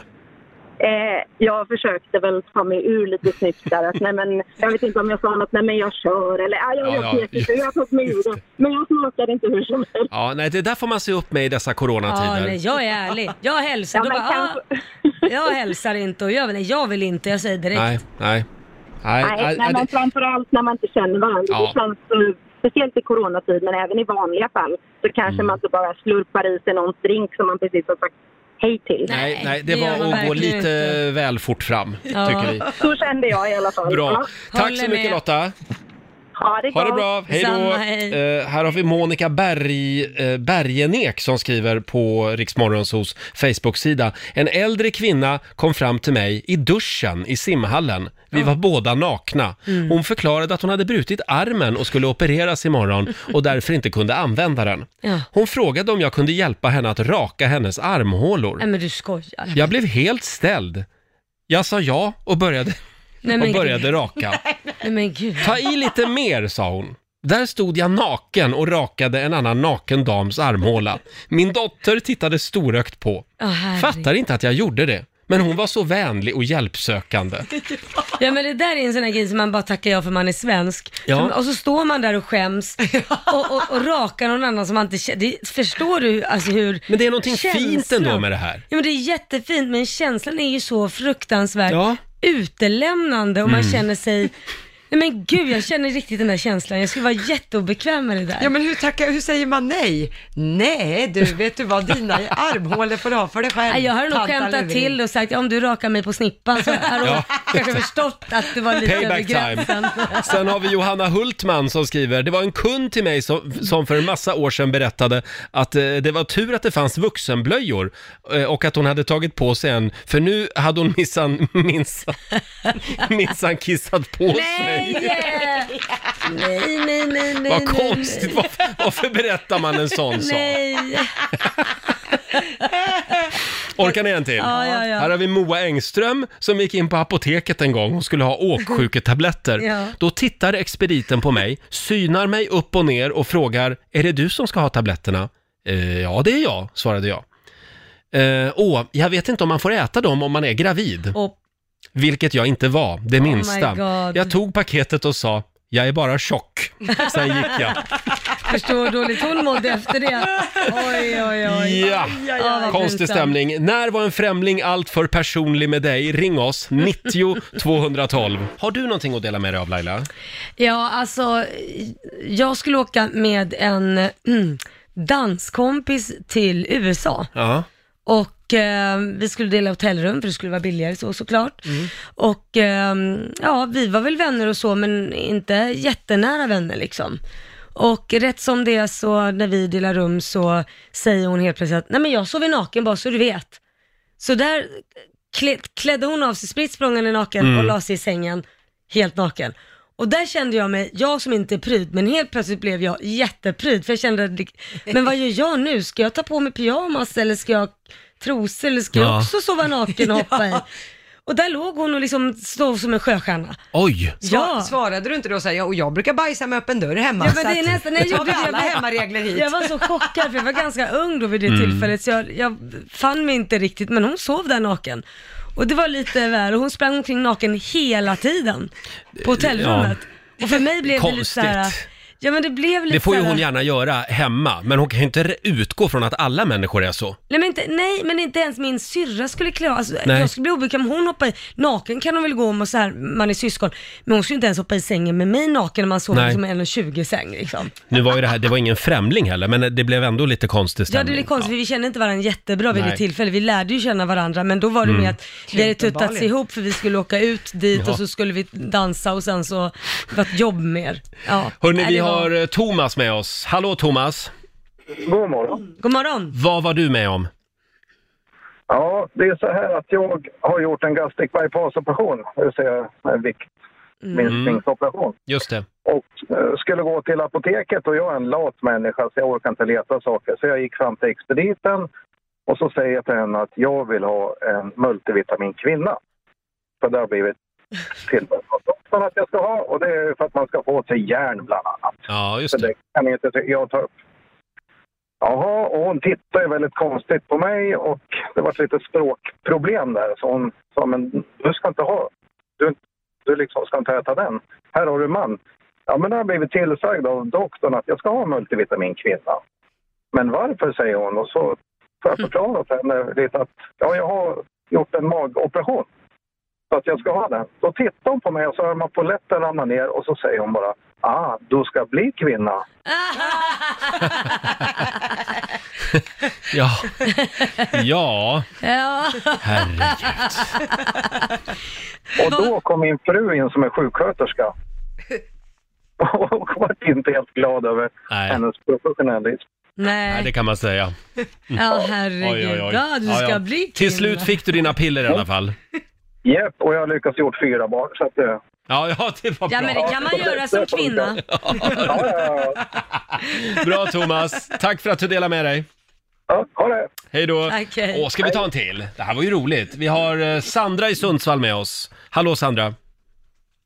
Eh, jag försökte väl ta mig ur lite snyggt där. Att, nej, men, jag vet inte om jag sa något, nej men jag kör eller ah, jag, Ja, jag ja, vet inte hur jag tog mig ur det. Men jag smakade inte hur som helst. Ja, nej, det där får man se upp med i dessa Ja, coronatider. nej, jag är ärlig. Jag hälsar. Ja, Då men bara, ah, jag hälsar inte och jag, nej, jag vill inte, jag säger direkt. nej, nej. Nej, Nej, nej, nej, nej, men framförallt när man inte känner varandra. Ja. Det känns, eh, speciellt i coronatid, men även i vanliga fall, så kanske Mm. man inte bara slurpar i sig någon drink som man precis har sagt hej till. nej, nej, det var att gå lite väl fort fram, tycker vi. Så kände jag i alla fall. Bra. Ja. Tack så mycket Lotta. Ha det, Ha det gott. bra, hej då! Eh, här har vi Monica Berg, eh, Bergenek som skriver på Riksmorgonsos Facebook-sida. En äldre kvinna kom fram till mig i duschen i simhallen. Vi var båda nakna. Mm. Hon förklarade att hon hade brutit armen och skulle opereras imorgon och därför inte kunde använda den. Ja. Hon frågade om jag kunde hjälpa henne att raka hennes armhålor. Nej men du skojar. Jag blev helt ställd. Jag sa ja och började, Nej, men och började gud. raka. Nej men gud. Ta i lite mer, sa hon. Där stod jag naken och rakade en annan naken dams armhåla. Min dotter tittade storögt på. Åh, herregud. Fattar inte att jag gjorde det. Men hon var så vänlig och hjälpsökande. Ja men det där är en sån här grej som man bara tackar ja för man är svensk. Ja. Så- Och så står man där och (laughs) skäms och, och, och rakar någon annan som man inte känner. Det, förstår du alltså hur Men det är någonting fint ändå med det här. Ja men det är jättefint men känslan är ju så fruktansvärt Ja. utelämnande och man Mm. känner (laughs) sig Nej men gud, jag känner riktigt den där känslan. Jag skulle vara jätteobekväm med det där. Ja men hur, tackar, hur säger man nej? Nej du, vet du vad, dina (laughs) armhålor får du ha för dig själv. Nej, jag har nog tanta skämtat Levin. till och sagt, ja, om du rakar mig på snippan så har (laughs) Ja, hon kanske exakt. förstått att det var lite över Payback time. gränsen. (laughs) Sen har vi Johanna Hultman som skriver, det var en kund till mig som, som för en massa år sedan berättade att eh, det var tur att det fanns vuxenblöjor eh, och att hon hade tagit på sig en, för nu hade hon minsann minsann minsann kissat på sig. Nej! Nej, nej, nej, nej. Vad nej, konstigt, varför, varför berättar man en sån sak? Nej. Orkar ni en till? Ja, ja, ja. Här har vi Moa Engström som gick in på apoteket en gång. Hon skulle ha åksjuketabletter. Ja. Då tittar expediten på mig, synar mig upp och ner och frågar “Är det du som ska ha tabletterna?” eh, “Ja, det är jag”, svarade jag. Eh, “Åh, jag vet inte om man får äta dem om man är gravid.” Och- Vilket jag inte var, det Oh my minsta. God. jag tog paketet och sa “Jag är bara tjock”. Sen gick jag. Förstår hur dåligt hon mådde efter det. Oj, oj, oj. Ja. Ja, vad Konstig pinsamt. stämning. När var en främling alltför personlig med dig? Ring (laughs) oss, 90 212. Har du någonting att dela med dig av Laila? Ja, alltså, jag skulle åka med en (clears throat) mm, danskompis till USA. Ja. Och eh, vi skulle dela hotellrum för det skulle vara billigare så såklart. Och ehm, ja, vi var väl vänner och så, men inte jättenära vänner liksom. Och rätt som det är så när vi delar rum så säger hon helt plötsligt att, nej men jag sover naken bara så du vet. Så där klä, klädde hon av sig spritt språngande naken Mm. och la sig i sängen helt naken. Och där kände jag mig, jag som inte är pryd, men helt plötsligt blev jag jättepryd för jag kände, att det- men vad gör jag nu? Ska jag ta på mig pyjamas eller ska jag trosor eller ska Ja. jag också sova naken och hoppa i? Och där låg hon och liksom stod som en sjöstjärna. Oj! Ja. Sva- Svarade du inte då så här, ja, och jag brukar bajsa med öppen dörr hemma. Ja, så men det att- är nästan, när jag Då tar gjorde vi det, alla hemmaregler hit. Jag var så chockad för jag var ganska ung då vid det Mm. tillfället så jag, jag fann mig inte riktigt men hon sov där naken. Och det var lite väl, och hon sprang omkring naken hela tiden på hotellrummet. Och för mig blev det lite Konstigt. såhär, ja men det blev lite Det får ju såhär- hon gärna göra hemma, men hon kan ju inte re- utgå från att alla människor är så. Nej men, inte, nej men inte ens min syrra skulle klä alltså, Nej. Jag skulle bli obekväm om hon hoppar i. Naken kan hon väl gå om och så här, man är syskon. Men hon skulle inte ens hoppa i sängen med mig naken när man sover Nej. som en 1,20 säng liksom. Nu var ju det här, det var ingen främling heller, men det blev ändå lite konstig Ja det stämning. blir konstigt för vi kände inte varandra jättebra vid Nej. det tillfället. Vi lärde ju känna varandra men då var det Mm. med att vi hade tuttats Uppenbarligen. ihop för vi skulle åka ut dit Ja. och så skulle vi dansa och sen så var det ett jobb med er. Ja. Hörni, Nej, vi det var- har eh, Thomas med oss. Hallå Thomas! God morgon. God morgon! Vad var du med om? Ja, det är så här att jag har gjort en gastric bypass-operation, det vill säga en viktminskningsoperation. Just det. Och eh, skulle gå till apoteket och jag är en lat människa så jag orkar inte leta saker. Så jag gick fram till expediten och så säger jag till henne att jag vill ha en multivitamin kvinna. För det har blivit tillbud av doktorn att jag ska ha och det är för att man ska få till järn bland annat. Ja, just det. det kan jag inte jag ta upp. Jaha, och hon tittade ju väldigt konstigt på mig och det var lite språkproblem där. Så hon sa, men du ska inte ha, du, du liksom ska inte äta den. Här har du man. Ja, men det har jag blivit tillsagd av doktorn att jag ska ha multivitamin kvinna. Men varför, säger hon. Och så får jag förklara för henne lite att ja, jag har gjort en magoperation. Så att jag ska ha den. Då tittar hon på mig och så hör man polletten ramla ner och så säger hon bara ah, du ska bli kvinna. (laughs) Ja. Ja. Ja. Och då kom min fru in som är sjuksköterska. (laughs) Och var inte helt glad över hennes professionalism. Nej, Nej. det kan man säga. Ja herregud. Ja du ska Ja, ja. bli kvinna. Till slut fick du dina piller i alla fall. Japp, och jag har lyckats gjort fyra barn. Så att det... Ja, (laughs) ja, det var Ja bra. men det kan man göra som kvinna. (laughs) Bra Thomas, tack för att du delade med dig. Ja, ha det. Hej då. Okej. Åh, ska vi ta en till? Det här var ju roligt. Vi har eh, Sandra i Sundsvall med oss. Hallå Sandra.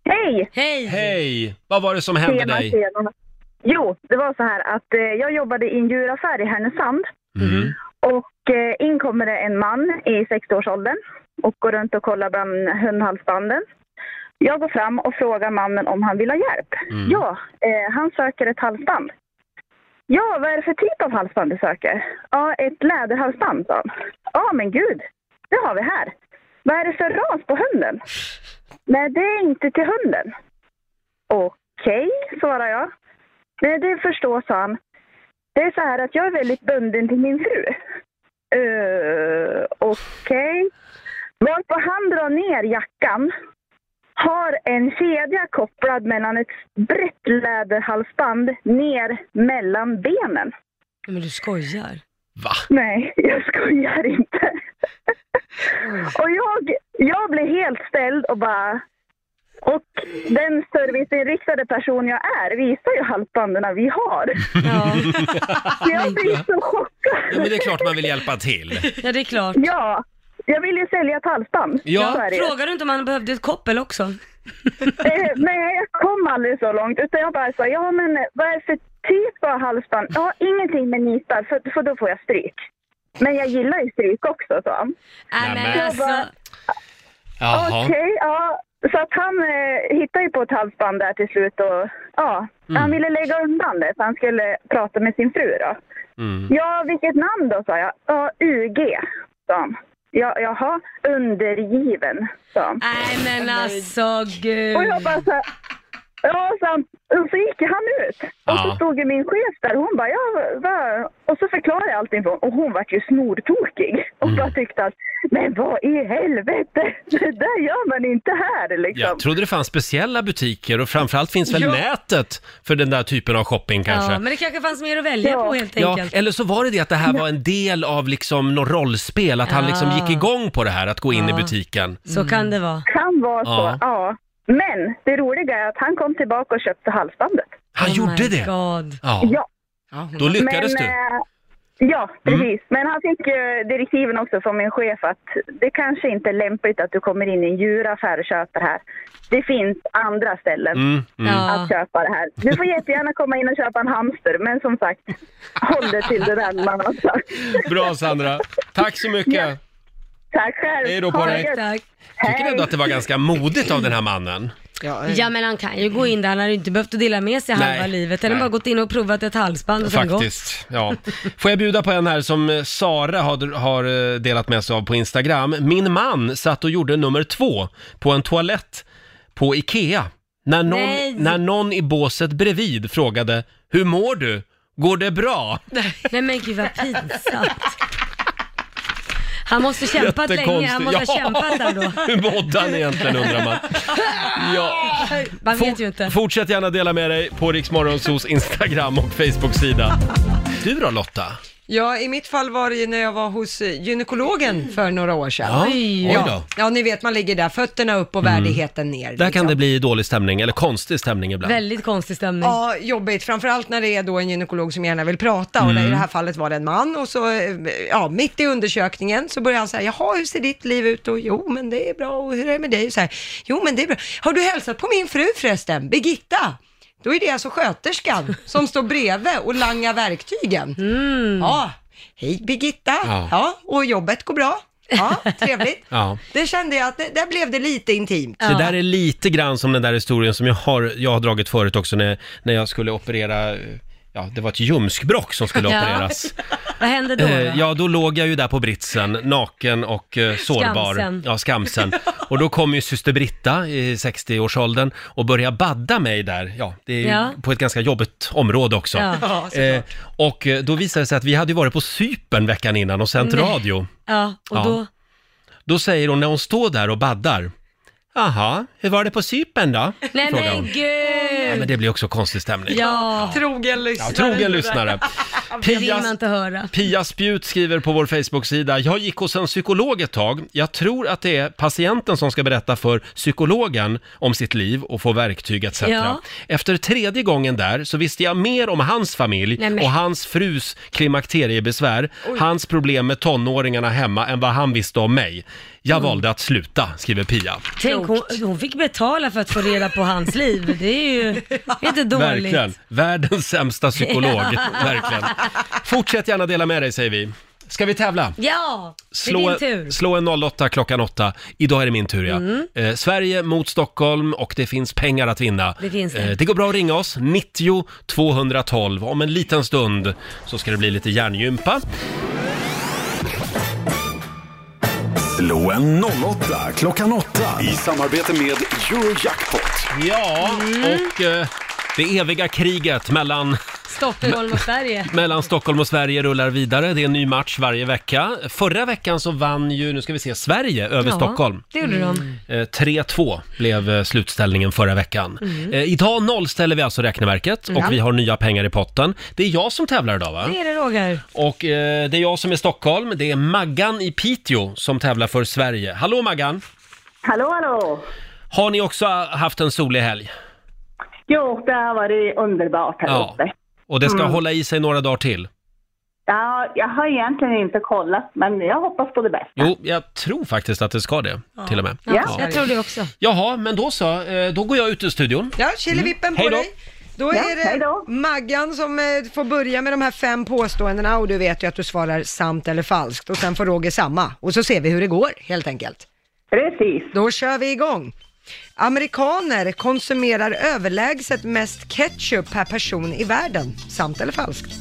Hej! Hej! Hej! Vad var det som hände dig? Tjena. Jo, det var så här att eh, jag jobbade i en djuraffär i Härnösand. Mm. Och eh, in kommer det en man i 60-årsåldern och går runt och kollar bland hundhalsbanden. Jag går fram och frågar mannen om han vill ha hjälp. Mm. Ja, eh, han söker ett halsband. Ja, vad är det för typ av halsband du söker? Ja, ett läderhalsband, sa han. Ja, men gud, det har vi här. Vad är det för ras på hunden? Nej, det är inte till hunden. Okej, svarar jag. Nej, det förstår, sa han. Det är så här att jag är väldigt bunden till min fru. Uh, Okej. Varpå han drar ner jackan, har en kedja kopplad mellan ett brett läderhalsband ner mellan benen. Men du skojar? Va? Nej, jag skojar inte. och jag, jag blev helt ställd och bara... Och den serviceinriktade person jag är visar ju halsbanden vi har. (laughs) jag blir så chockad. Ja, men det är klart man vill hjälpa (laughs) till. Ja, det är klart. Ja, jag vill ju sälja ett halsband. Ja. Så är det ju. Frågar du inte om han behövde ett koppel också? Eh, Nej, jag kom aldrig så långt. Utan jag bara sa, ja men vad är det för typ av halsband? Ja, ingenting med nitar, för, för då får jag stryk. Men jag gillar ju stryk också, sa han. Nej, men jag alltså. bara, Jaha. Okej, ja. Så att han eh, hittade ju på ett halsband där till slut och ja, han ville lägga undan det för han skulle prata med sin fru då. Mm. Ja, vilket namn då, sa jag. Ja, UG, sa han. Ja, jaha, undergiven, sa han. Nej men alltså gud. Och jag bara så här, Ja, så, han, och så gick han ut. Och så Ja. stod ju min chef där och hon bara, ja, va? Och så förklarade jag allting för honom och hon vart ju snortokig. Och Mm. bara tyckte att, men vad i helvete, (laughs) det där gör man inte här liksom. Jag trodde det fanns speciella butiker och framförallt finns väl Ja. nätet för den där typen av shopping kanske. Ja, men det kanske fanns mer att välja på helt Ja, enkelt. eller så var det det att det här var en del av liksom något rollspel, att han liksom Ja. gick igång på det här att gå in Ja. i butiken. Så kan det vara. Kan vara Mm. Ja. så, ja. Men det roliga är att han kom tillbaka och köpte halsbandet. Han Oh gjorde det? Ja. Ja. Då lyckades men, du. Mm. eh, Ja, precis. Men han fick ju direktiven också från min chef att det kanske inte är lämpligt att du kommer in i en djuraffär och köper här. Det finns andra ställen Mm, mm. att köpa det här. Du får jättegärna komma in och köpa en hamster, men som sagt, håll dig till det där man har sagt. Bra Sandra. Tack så mycket. Ja. Tack själv. Hej då på Ha det dig. gött. Tack. Tycker ändå att det var ganska modigt av den här mannen. Ja men han kan ju gå in där, han har ju inte behövt att dela med sig Nej. halva livet. Han har Nej. bara gått in och provat ett halsband och sen gått. Faktiskt, ja. Får jag bjuda på en här som eh, Sara har, har eh, delat med sig av på Instagram. Min man satt och gjorde nummer två på en toalett på Ikea. När Nej. någon, när någon i båset bredvid frågade “Hur mår du? Går det bra?” (laughs) Nej men gud vad pinsamt. Han måste kämpat länge, han måste ha kämpat där då. (laughs) Hur mådde han egentligen undrar man. Ja. Man vet ju inte. Fortsätt gärna dela med dig på Riksmorgonsos Instagram och Facebook-sida. Du då Lotta? Ja, i mitt fall var det ju när jag var hos eh, gynekologen för några år sedan. Ja, oj då. ja, ja, ni vet man ligger där, fötterna upp och Mm. värdigheten ner. liksom. Där kan det bli dålig stämning, eller konstig stämning ibland. Väldigt konstig stämning. Ja, jobbigt. Framförallt när det är då en gynekolog som gärna vill prata och Mm. i det här fallet var det en man och så, eh, ja, mitt i undersökningen så börjar han säga, jaha, hur ser ditt liv ut och jo, men det är bra och hur är det med dig? Så här, jo, men det är bra. Har du hälsat på min fru förresten, Birgitta? Då är det alltså sköterskan som står bredvid och langar verktygen. Mm. Ja, hej Birgitta, Ja. ja. och jobbet går bra. Ja, trevligt. Ja. Det kände jag att det, där blev det lite intimt. Det där är lite grann som den där historien som jag har, jag har dragit förut också när, när jag skulle operera, eh, ja det var ett ljumskbråck som skulle opereras. Vad hände då? då? Eh, ja, då låg jag ju där på britsen, naken och eh, sårbar. Skamsen. (laughs) Ja, skamsen. Och då kom ju syster Britta i 60-årsåldern och började badda mig där. Ja, det är ju Ja. på ett ganska jobbigt område också. Ja. Ja, såklart. eh, och eh, då visade det sig att vi hade ju varit på Cypern veckan innan och sänt Nej. radio. Ja, och Ja. då? Då säger hon när hon står där och baddar, Jaha, hur var det på Cypern då? Nej Frågar hon. men Nej, men gud! det blir också konstig stämning. Ja. Trogen Ja, (laughs) trogen lyssnare. Det vill Pias- man inte höra. Pia Spjut skriver på vår Facebook-sida, jag gick hos en psykolog ett tag. Jag tror att det är patienten som ska berätta för psykologen om sitt liv och få verktyg etc. Ja. Efter tredje gången där så visste jag mer om hans familj Nej, men- och hans frus klimakteriebesvär, hans problem med tonåringarna hemma än vad han visste om mig. Jag Mm. valde att sluta, skriver Pia. Tänk, hon, hon fick betala för att få reda på hans liv. Det är (laughs) ju det är inte dåligt. Verkligen. Världens (laughs) sämsta psykolog. Ja. Verkligen. Fortsätt gärna dela med dig, säger vi. Ska vi tävla? Ja, det är Slå, din tur. slå en 08 klockan 8. Idag är det min tur ja. Mm. Eh, Sverige mot Stockholm och det finns pengar att vinna. Eh, Det finns det. det går bra att ringa oss, 90 212. Om en liten stund så ska det bli lite hjärngympa. Slå en 08 klockan 8 i samarbete med Eurojackpot. Ja, Mm. och eh, det eviga kriget mellan Stockholm och Sverige. Mellan Stockholm och Sverige rullar vidare. Det är en ny match varje vecka. Förra veckan så vann ju, nu ska vi se, Sverige över Ja, Stockholm. det gjorde de. Eh, 3-2 blev eh, slutställningen förra veckan. Mm. Eh, Idag nollställer vi alltså räkneverket och Ja. vi har nya pengar i potten. Det är jag som tävlar idag va? Det är det Roger. Och eh, det är jag som är Stockholm. Det är Maggan i Piteå som tävlar för Sverige. Hallå Maggan! Hallå, hallå! Har ni också haft en solig helg? Jo, det har varit underbart här Ja. uppe. Och det ska Mm. hålla i sig några dagar till? Ja, jag har egentligen inte kollat, men jag hoppas på det bästa. Jo, jag tror faktiskt att det ska det, till och med. Ja. det också. Jaha, men då så. Eh, Då går jag ut ur studion. Mm. Ja, Killevippen på Hej då. dig. Då Ja, är det hej Maggan som eh, får börja med de här fem påståendena och du vet ju att du svarar sant eller falskt och sen får Roger samma och så ser vi hur det går helt enkelt. Precis. Då kör vi igång. Amerikaner konsumerar överlägset mest ketchup per person i världen. Sant eller falskt?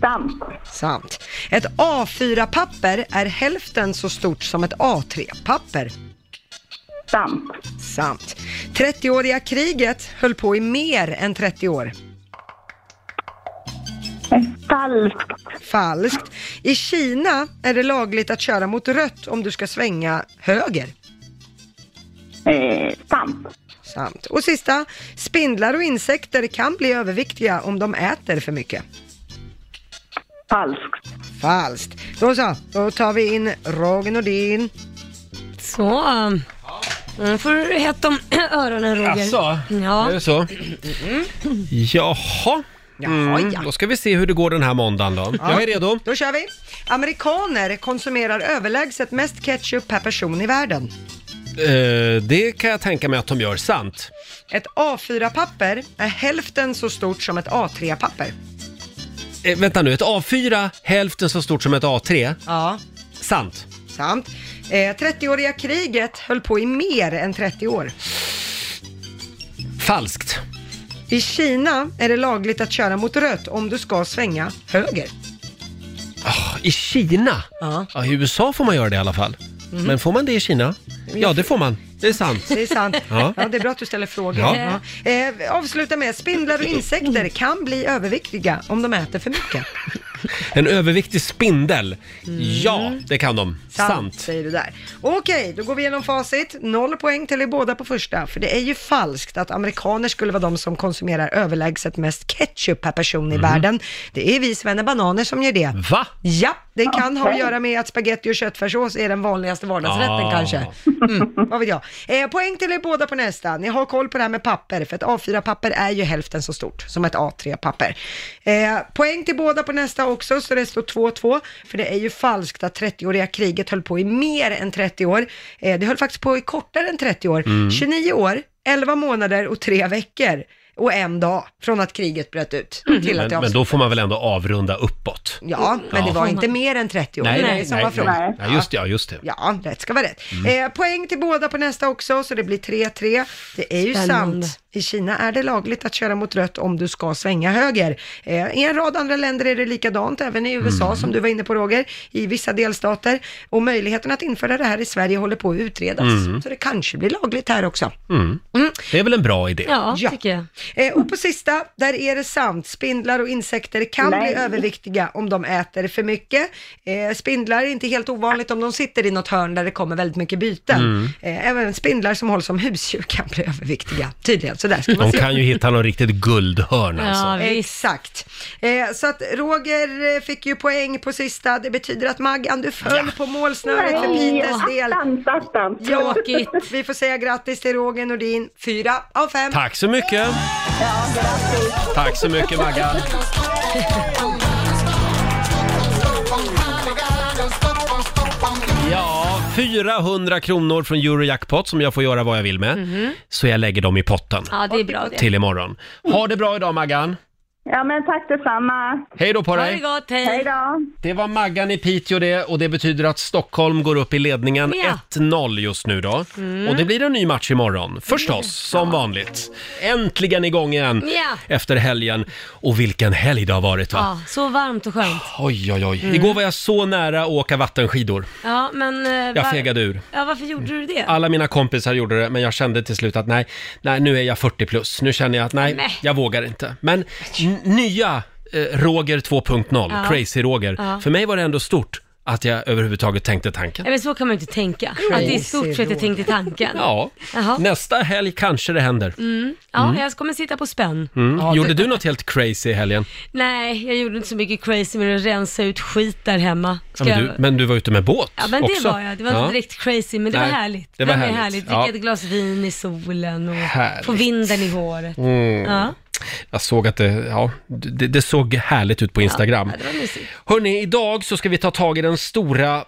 Sant. Sant. Ett A4-papper är hälften så stort som ett A3-papper. Sant. Sant. 30-åriga kriget höll på i mer än 30 år. Falskt. Falskt. I Kina är det lagligt att köra mot rött om du ska svänga höger. Eh, sant. Sant. Och sista, spindlar och insekter kan bli överviktiga om de äter för mycket. Falskt. Falskt. Då så, då tar vi in Roger Nordin. Så. Nu får du hetta om (clears throat) öronen Roger. Asså? Ja. Är det så? Jaha. Mm, Jaha, ja. Då ska vi se hur det går den här måndagen då. Ja. Jag är redo. Då kör vi. Amerikaner konsumerar överlägset mest ketchup per person i världen. Eh, det kan jag tänka mig att de gör sant. Ett A4-papper är hälften så stort som ett A3-papper. Eh, vänta nu, ett A4 hälften så stort som ett A3. Ja. Sant. Sant. Eh, 30-åriga kriget höll på i mer än 30 år. Falskt. I Kina är det lagligt att köra mot rött om du ska svänga höger. Ah, I Kina? Ja. I USA får man göra det i alla fall. Mhm. Men får man det i Kina? Ja, det får man. Det är sant. Det är sant. (laughs) Ja. ja. det är bra att du ställer frågor. Ja. Ja. Eh, avsluta med, spindlar och insekter kan bli överviktiga om de äter för mycket. En överviktig spindel. Mm. Ja, det kan de. Sant. säger du där. Okej, då går vi igenom facit. Noll poäng till er båda på första, för det är ju falskt att amerikaner skulle vara de som konsumerar överlägset mest ketchup per person i världen. Det är vi svennebananer som gör det. Mhm. Va? Ja, det kan ha att Okej. göra med att spaghetti och köttfärssås är den vanligaste vardagsrätten Ah. kanske. Mm, vad vet jag. Eh, poäng till er båda på nästa. Ni har koll på det här med papper, för ett A4-papper är ju hälften så stort som ett A3-papper. Eh, poäng till båda på nästa också, så det står 2-2. För det är ju falskt att 30-åriga kriget höll på i mer än 30 år. Eh, det höll faktiskt på i kortare än 30 år. Mm. 29 år, 11 månader och 3 veckor och en dag från att kriget bröt ut (laughs) till att det Mm. Men, men avslutades. då får man väl ändå avrunda uppåt? Ja, men det Ja. var inte mer än 30 år. Nej, Det är nej, som nej, var frågan. nej. Ja, just det, ja, just det. Ja, rätt ska vara rätt. typ. Mm. Eh, poäng till båda på nästa också, så det blir 3-3. Det är ju Spännande. sant. I Kina är det lagligt att köra mot rött om du ska svänga höger. Eh, I en rad andra länder är det likadant, även i USA Mm. som du var inne på Roger, i vissa delstater. Och möjligheten att införa det här i Sverige håller på att utredas. Mm. Så det kanske blir lagligt här också. Mm. Det är väl en bra idé? tycker jag. Eh, och på sista, där är det sant. Spindlar och insekter kan Nej. bli överviktiga om de äter för mycket. Eh, spindlar är inte helt ovanligt om de sitter i något hörn där det kommer väldigt mycket byten. Mm. Eh, även spindlar som hålls som husdjur kan bli överviktiga, tydligen. Så där ska man (laughs) De se. kan ju hitta någon riktigt guldhörn alltså. Exakt. Eh, så att Roger eh, fick ju poäng på sista. Det betyder att Maggan, du föll på målsnöret för Nej, Peters del. Attans, attans. Ja, vi får säga grattis till Roger Nordin, fyra av fem. Tack så mycket! Tack så mycket Maggan! Ja, 400 kronor från Eurojackpot som jag får göra vad jag vill med. Mhm. Så jag lägger dem i potten Ja, det är bra det. till imorgon. Ha det bra idag Maggan! Ja, men tack detsamma. Hej då på dig! gott, hej. Hej då. Det var Maggan i Piteå det och det betyder att Stockholm går upp i ledningen Ja. 1-0 just nu då. Mm. Och det blir en ny match imorgon, förstås, som vanligt. Äntligen igång igen Ja. efter helgen. Och vilken helg det har varit va? Ja, så varmt och skönt. Oj, oj, oj. Mm. Igår var jag så nära att åka vattenskidor. Ja, men... eh, Jag Ah. var- fegade ur. Ja, varför gjorde du det? (laughs) Alla mina kompisar gjorde det, men jag kände till slut att nej, nej nu är jag 40 plus. Nu känner jag att nej, Nej. jag vågar inte. Men n- nya eh, Roger 2.0, Ja. Crazy Roger. Ja. För mig var det ändå stort att jag överhuvudtaget tänkte tanken. Nej, men så kan man ju inte tänka. Att det är i stort sett jag tänkte tanken. Ja, Jaha. nästa helg kanske det händer. Mm. Ja, Mm. jag kommer sitta på spänn. Mm. Gjorde du något helt crazy i helgen? Nej, jag gjorde inte så mycket crazy med att rensa ut skit där hemma. Ja, Ska men, du, jag... men du var ute med båt Ja men också. det var jag. Det var inte direkt crazy men det Nej, var härligt. det var härligt. härligt. Dricka Ja. ett glas vin i solen och Härligt. få vinden i håret. Mm. Ja. Jag såg att det, ja, det, det såg härligt ut på Instagram. Ja, det var mysigt. Hörni, idag så ska vi ta tag i den stora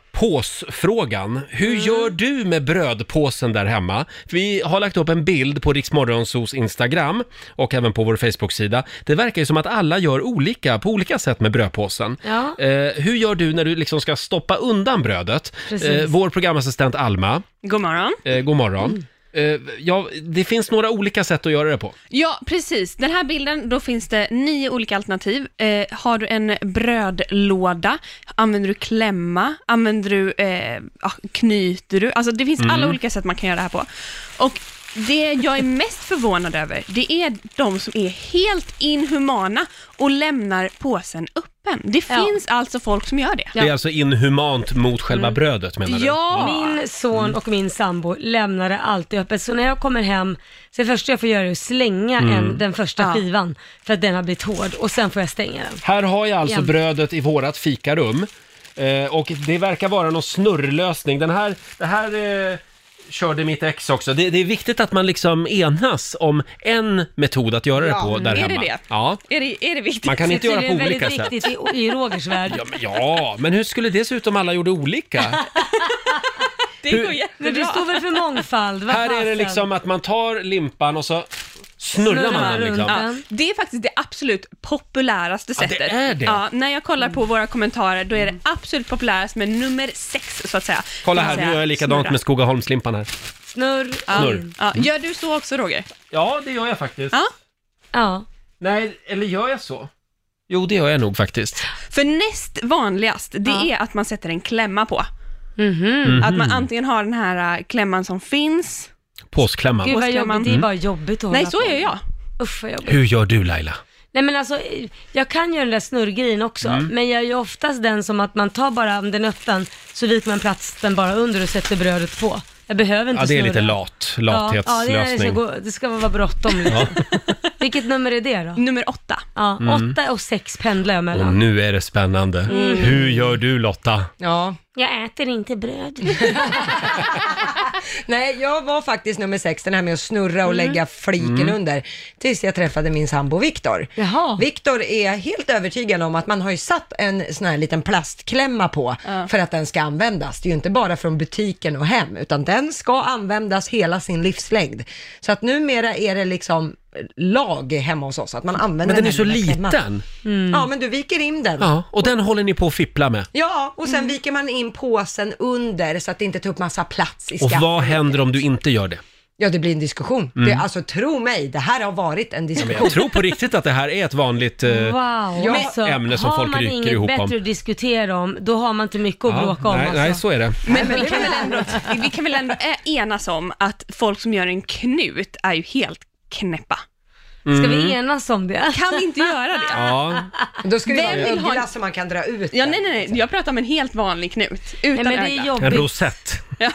påsfrågan. Hur Mm. gör du med brödpåsen där hemma? Vi har lagt upp en bild på Riksmorgonsos Instagram och även på vår Facebook-sida. Det verkar ju som att alla gör olika, på olika sätt med brödpåsen. Ja. Eh, hur gör du när du liksom ska stoppa undan brödet? Eh, Precis. vår programassistent Alma, God morgon. eh, god Mm. morgon. Eh, ja, det finns några olika sätt att göra det på. Ja, precis. Den här bilden, då finns det nio olika alternativ. Eh, har du en brödlåda? Använder du klämma? Använder du, eh, ah, knyter du? Alltså det finns alla Mm. olika sätt man kan göra det här på. Och det jag är mest förvånad över, det är de som är helt inhumana och lämnar påsen öppen. Det finns alltså folk som gör det. Det är alltså inhumant mot själva brödet menar du? Min son och min sambo lämnar det alltid öppet. Så när jag kommer hem, så det första jag får göra är att slänga Mm. en, den första Ja. skivan för att den har blivit hård och sen får jag stänga den. Här har jag alltså Igen. brödet i vårat fikarum. Eh, och det verkar vara någon snurrlösning. Den här, det här eh, körde mitt ex också. Det, det är viktigt att man liksom enas om en metod att göra det på där är hemma. det det? Ja. Är det, är det viktigt? Man kan inte göra på olika Det är sätt. väldigt viktigt i, i Rogers värld. Ja men, ja, men hur skulle det se ut om alla gjorde olika? det går Men du står väl för mångfald? Vad Här är det fasen? liksom att man tar limpan och så snurrar man den liksom. Ja, det är faktiskt det absolut populäraste Ja, det sättet. är det. Mm. Ja, när jag kollar på våra kommentarer, då är det absolut populärast med nummer sex, så att säga. Kolla Det här, vill nu säga gör jag likadant snurra. med Skogaholmslimpan här. Snurr. Ja. Snurr. Ja. Gör du så också, Roger? Ja, det gör jag faktiskt. Ja. ja. Nej, eller gör jag så? Jo, det gör jag nog faktiskt. För näst vanligast, det är att man sätter en klämma på. Mhm. Att man antingen har den här äh, klämman som finns. Påsklämman. Gud vad jobbigt, det är Mm. bara jobbigt att Nej, hålla så på gör med. jag. Usch vad jobbigt. Hur gör du Laila? Nej men alltså, jag kan göra den där snurrgrejen också, Mm. men jag är ju oftast den som att man tar bara, om den är öppen, så viker man platsen bara under och sätter brödet på. Jag behöver inte Ja, det är lite snurra. lat, Ja, ja, det, är, det, ska lathetslösning. gå, det ska vara bråttom liksom. (laughs) Vilket nummer är det då? Nummer åtta. Ja, Mm. åtta och sex pendlar jag mellan. Och nu är det spännande. Mm. Hur gör du Lotta? Ja. Jag äter inte (laughs) bröd. Eh, Nej, jag var faktiskt nummer sex, den här med att snurra och Mm. lägga fliken Mm. under, tills jag träffade min sambo Viktor. Viktor är helt övertygad om att man har ju satt en sån här liten plastklämma på för att den ska användas. Det är ju inte bara från butiken och hem, utan den ska användas hela sin livslängd. Så att numera är det liksom lag hemma hos oss, att man använder Men den är här så lilla klämman. Mm. liten. Mm. Ja, men du viker in den. Ja, Mm. och den håller ni på att fippla med. Ja, och sen viker man in påsen under så att det inte tar upp massa plats i Och skaftet. vad händer om du inte gör det? Ja, det blir en diskussion. Mm. Det, alltså tro mig, det här har varit en Ja, diskussion. men jag tror på riktigt att det här är ett vanligt eh, Wow, alltså, ämne som har folk man rycker inget ihop bättre om. att diskutera om, då har man inte mycket att bråka om nej, alltså. nej, så är det. Men, vi, kan väl ändå, vi kan väl ändå ä- enas om att folk som gör en knut är ju helt knäppa. Ska vi Mm. enas om det? Kan vi inte göra det? Ja. (laughs) Då ska vi ha Vem vill en ha en- uggla som man kan dra ut. liksom. Ja, nej, nej, nej, jag pratar om en helt vanlig knut, utan men det är ögla. En rosett. Ja.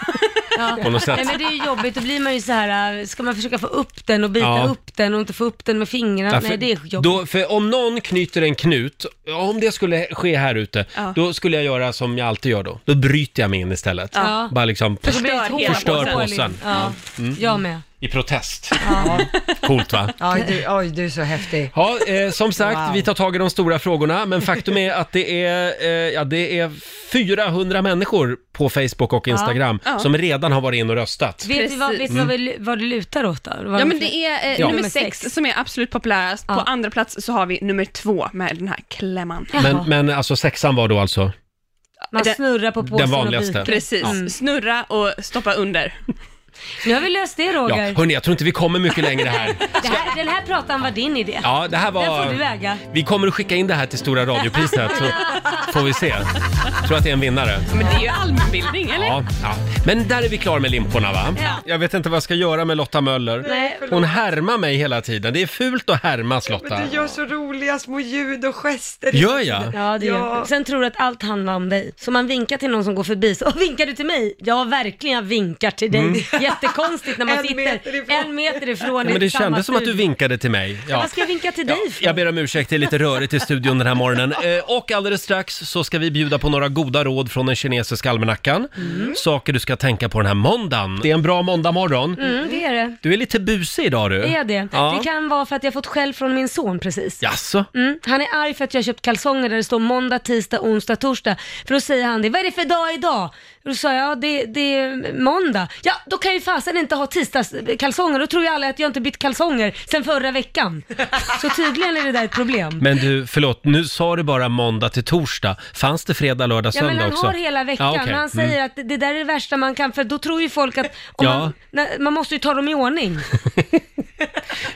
På något sätt. Nej, men det är ju jobbigt, då blir man ju så här, äh, ska man försöka få upp den och bita Ja. upp den och inte få upp den med fingrarna? Ja, Nej, det är jobbigt. då, för om någon knyter en knut, om det skulle ske här ute, Ja. då skulle jag göra som jag alltid gör då. Då bryter jag mig in istället. Ja. Bara liksom För då blir det ett hål på förstör påsen. påsen. Ja. Mm. Jag med. i protest. Ja. Coolt va? Oj, du, oj, du är så häftig. Ja, eh, som sagt, Wow. vi tar tag i de stora frågorna, men faktum är att det är, eh, ja, det är 400 människor på Facebook och Ja. Instagram Ja. som redan har varit in och röstat. Vet du vad, vet du vad, Mm. vi- vad det lutar åt då? Vad Ja, det men för- det är eh, Ja. nummer Nummer sex som är absolut populärast. På andra plats så har vi nummer två med den här klämman. Men, men alltså sexan var då alltså? Man snurrar på påsen Den vanligaste. och byter. Precis, Ja. snurra och stoppa under. Nu har vi löst det Ja, Roger. hörni, jag tror inte vi kommer mycket längre här. det här, den här pratan var din idé. Ja, det här var- Den får du äga. Vi kommer att skicka in det här till (laughs) Stora radiopriset, så får vi se. Tror att det är en vinnare. Men det är ju allmänbildning, eller? Ja, ja. Men där är vi klara med limporna va? Ja. Jag vet inte vad jag ska göra med Lotta Möller. Nej, förlåt. Hon härmar mig hela tiden. Det är fult att härmas Lotta. Men du gör så roliga små ljud och gester. Gör jag? Ja, det gör Ja. du. Sen tror du att allt handlar om dig. Så man vinkar till någon som går förbi. Så, (laughs) "Åh, vinkar du till mig? Ja, verkligen jag vinkar till dig. Mm. Jättekonstigt när man (laughs) En sitter meter en meter ifrån. Ja, men i det samma kändes som att du studio. vinkade till mig. Ja. Ja. Vad ska jag vinka till dig för? Jag ber om ursäkt, det är lite rörigt i studion den här morgonen. Eh, Och alldeles strax så ska vi bjuda på några goda råd från den kinesiska almanackan. Mm. Saker du ska tänka på den här måndagen. Det är en bra måndag morgon. Mm, det är det. Du är lite busig idag du. Det är det. Ja. Det kan vara för att jag fått skäll från min son precis. Jaså? Mm, han är arg för att jag köpt kalsonger där det står måndag, tisdag, onsdag, torsdag. För då säger han det, vad är det för dag idag? Och Då sa jag, ja det, det är måndag. Ja, då kan jag ju fasen inte ha tisdagskalsonger. Då tror ju alla att jag inte bytt kalsonger sedan förra veckan. Så tydligen är det där ett problem. Men du, förlåt, nu sa du bara måndag till torsdag. Fanns det fredag, lördag, Ja, men söndag han också? har hela veckan. Ja, okej. Han säger Mm. att det- det där är det värsta man kan, för då tror ju folk att om Ja. man, nej, man måste ju ta dem i ordning.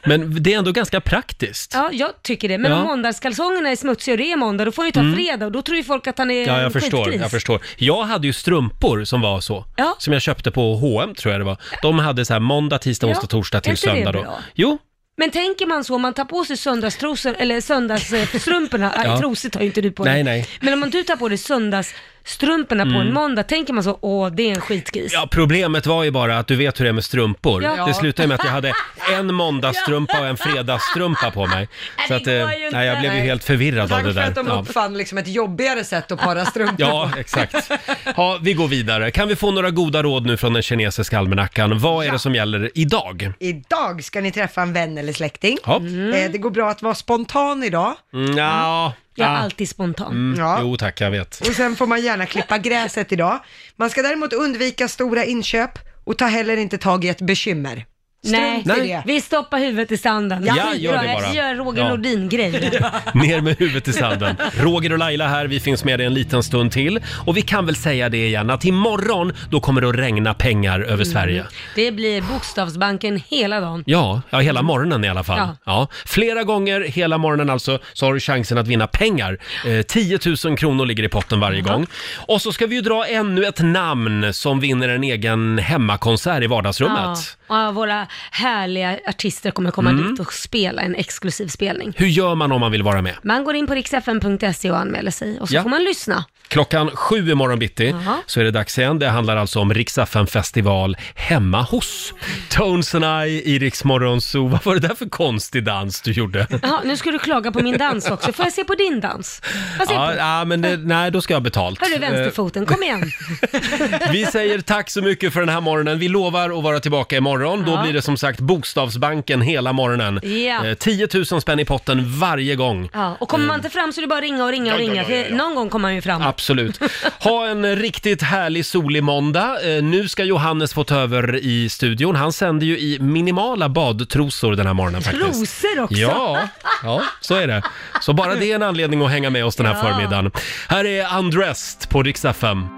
Men det är ändå ganska praktiskt. Ja, jag tycker det. Men Ja. om måndagskalsongerna är smutsiga och det är måndag, då får han ju ta Mm. fredag och då tror ju folk att han är Ja, en jag förstår, skitgris. jag förstår. Jag hade ju strumpor som var så. Ja. Som jag köpte på H&M tror jag det var. De hade så här måndag, tisdag, Ja. onsdag, torsdag Är till inte det söndag då. bra? Jo, Men tänker man så, om man tar på sig söndagstrosor, eller (laughs) söndagsstrumporna, Ja. ja. trosor tar ju inte du på Nej, dig. nej. Men om man du tar på dig söndagsstrumporna på Mm. en måndag, tänker man så, åh det är en skitgris. Ja, problemet var ju bara att du vet hur det är med strumpor. Ja. Det slutade ju med att (laughs) jag hade en måndagsstrumpa och en fredagsstrumpa på mig. Så att, eh, går ju inte. nej, jag blev ju Nej. helt förvirrad av Tack det för där. att de Ja. uppfann liksom ett jobbigare sätt att para strumpor Ja, (laughs) på. exakt. Ja, vi går vidare. Kan vi få några goda råd nu från den kinesiska almanackan? Vad är det som gäller idag? Idag ska ni träffa en vän eller släkting. Hopp. Eh, Det går bra att vara spontan idag. Mm, ja. Ah. spontan. Mm, Ja. Jo tack, jag vet. Och sen får man gärna klippa gräset idag. Man ska däremot undvika stora inköp och ta heller inte tag i ett bekymmer. Nej, Strunt i det. vi stoppar huvudet i sanden. Ja, Skitbra. gör det bara. Jag gör Roger Ja. Nordin-grej. Ner med huvudet i sanden. Roger och Laila här, vi finns med dig en liten stund till. Och vi kan väl säga det igen, att imorgon då kommer det att regna pengar (laughs) Mm. över Sverige. Det blir Bokstavsbanken hela dagen. Ja, ja, hela morgonen i alla fall. Ja. Mm. Ja. Flera gånger hela morgonen alltså, så har du chansen att vinna pengar. Eh, 10 000 kronor ligger i potten varje gång. Och så ska vi ju dra ännu ett namn som vinner en egen hemmakonsert i vardagsrummet. Ja, och våra härliga artister kommer komma Mm. dit och spela en exklusiv spelning. Hur gör man om man vill vara med? Man går in på riksfn.se och anmäler sig och så Ja. får man lyssna. Klockan sju imorgon bitti Jaha. så är det dags igen. Det handlar alltså om Riksaffen festival hemma hos. Tones and I i Rix Morgon Zoo. Vad var det där för konstig dans du gjorde? Jaha, nu ska du klaga på min dans också. Får jag se på din dans? Vad ser Ja, du? ja, men eh, nej, då ska jag ha betalt. Hörru Eh, vänsterfoten, kom igen. Vi säger tack så mycket för den här morgonen. Vi lovar att vara tillbaka imorgon. Då Ja. blir det som sagt Bokstavsbanken hela morgonen. Ja. Eh, 10 000 spänn i potten varje gång. Ja, och kommer man inte fram så är det bara att ringa och ringa och ringa. För någon gång kommer man ju fram. (laughs) Absolut. Ha en riktigt härlig solig måndag. Eh, Nu ska Johannes få ta över i studion. Han sänder ju i minimala badtrosor den här morgonen faktiskt. Trosor också. Ja, ja, så är det. Så bara det är en anledning att hänga med oss den här Ja. förmiddagen. Här är Undressed på Rix FM.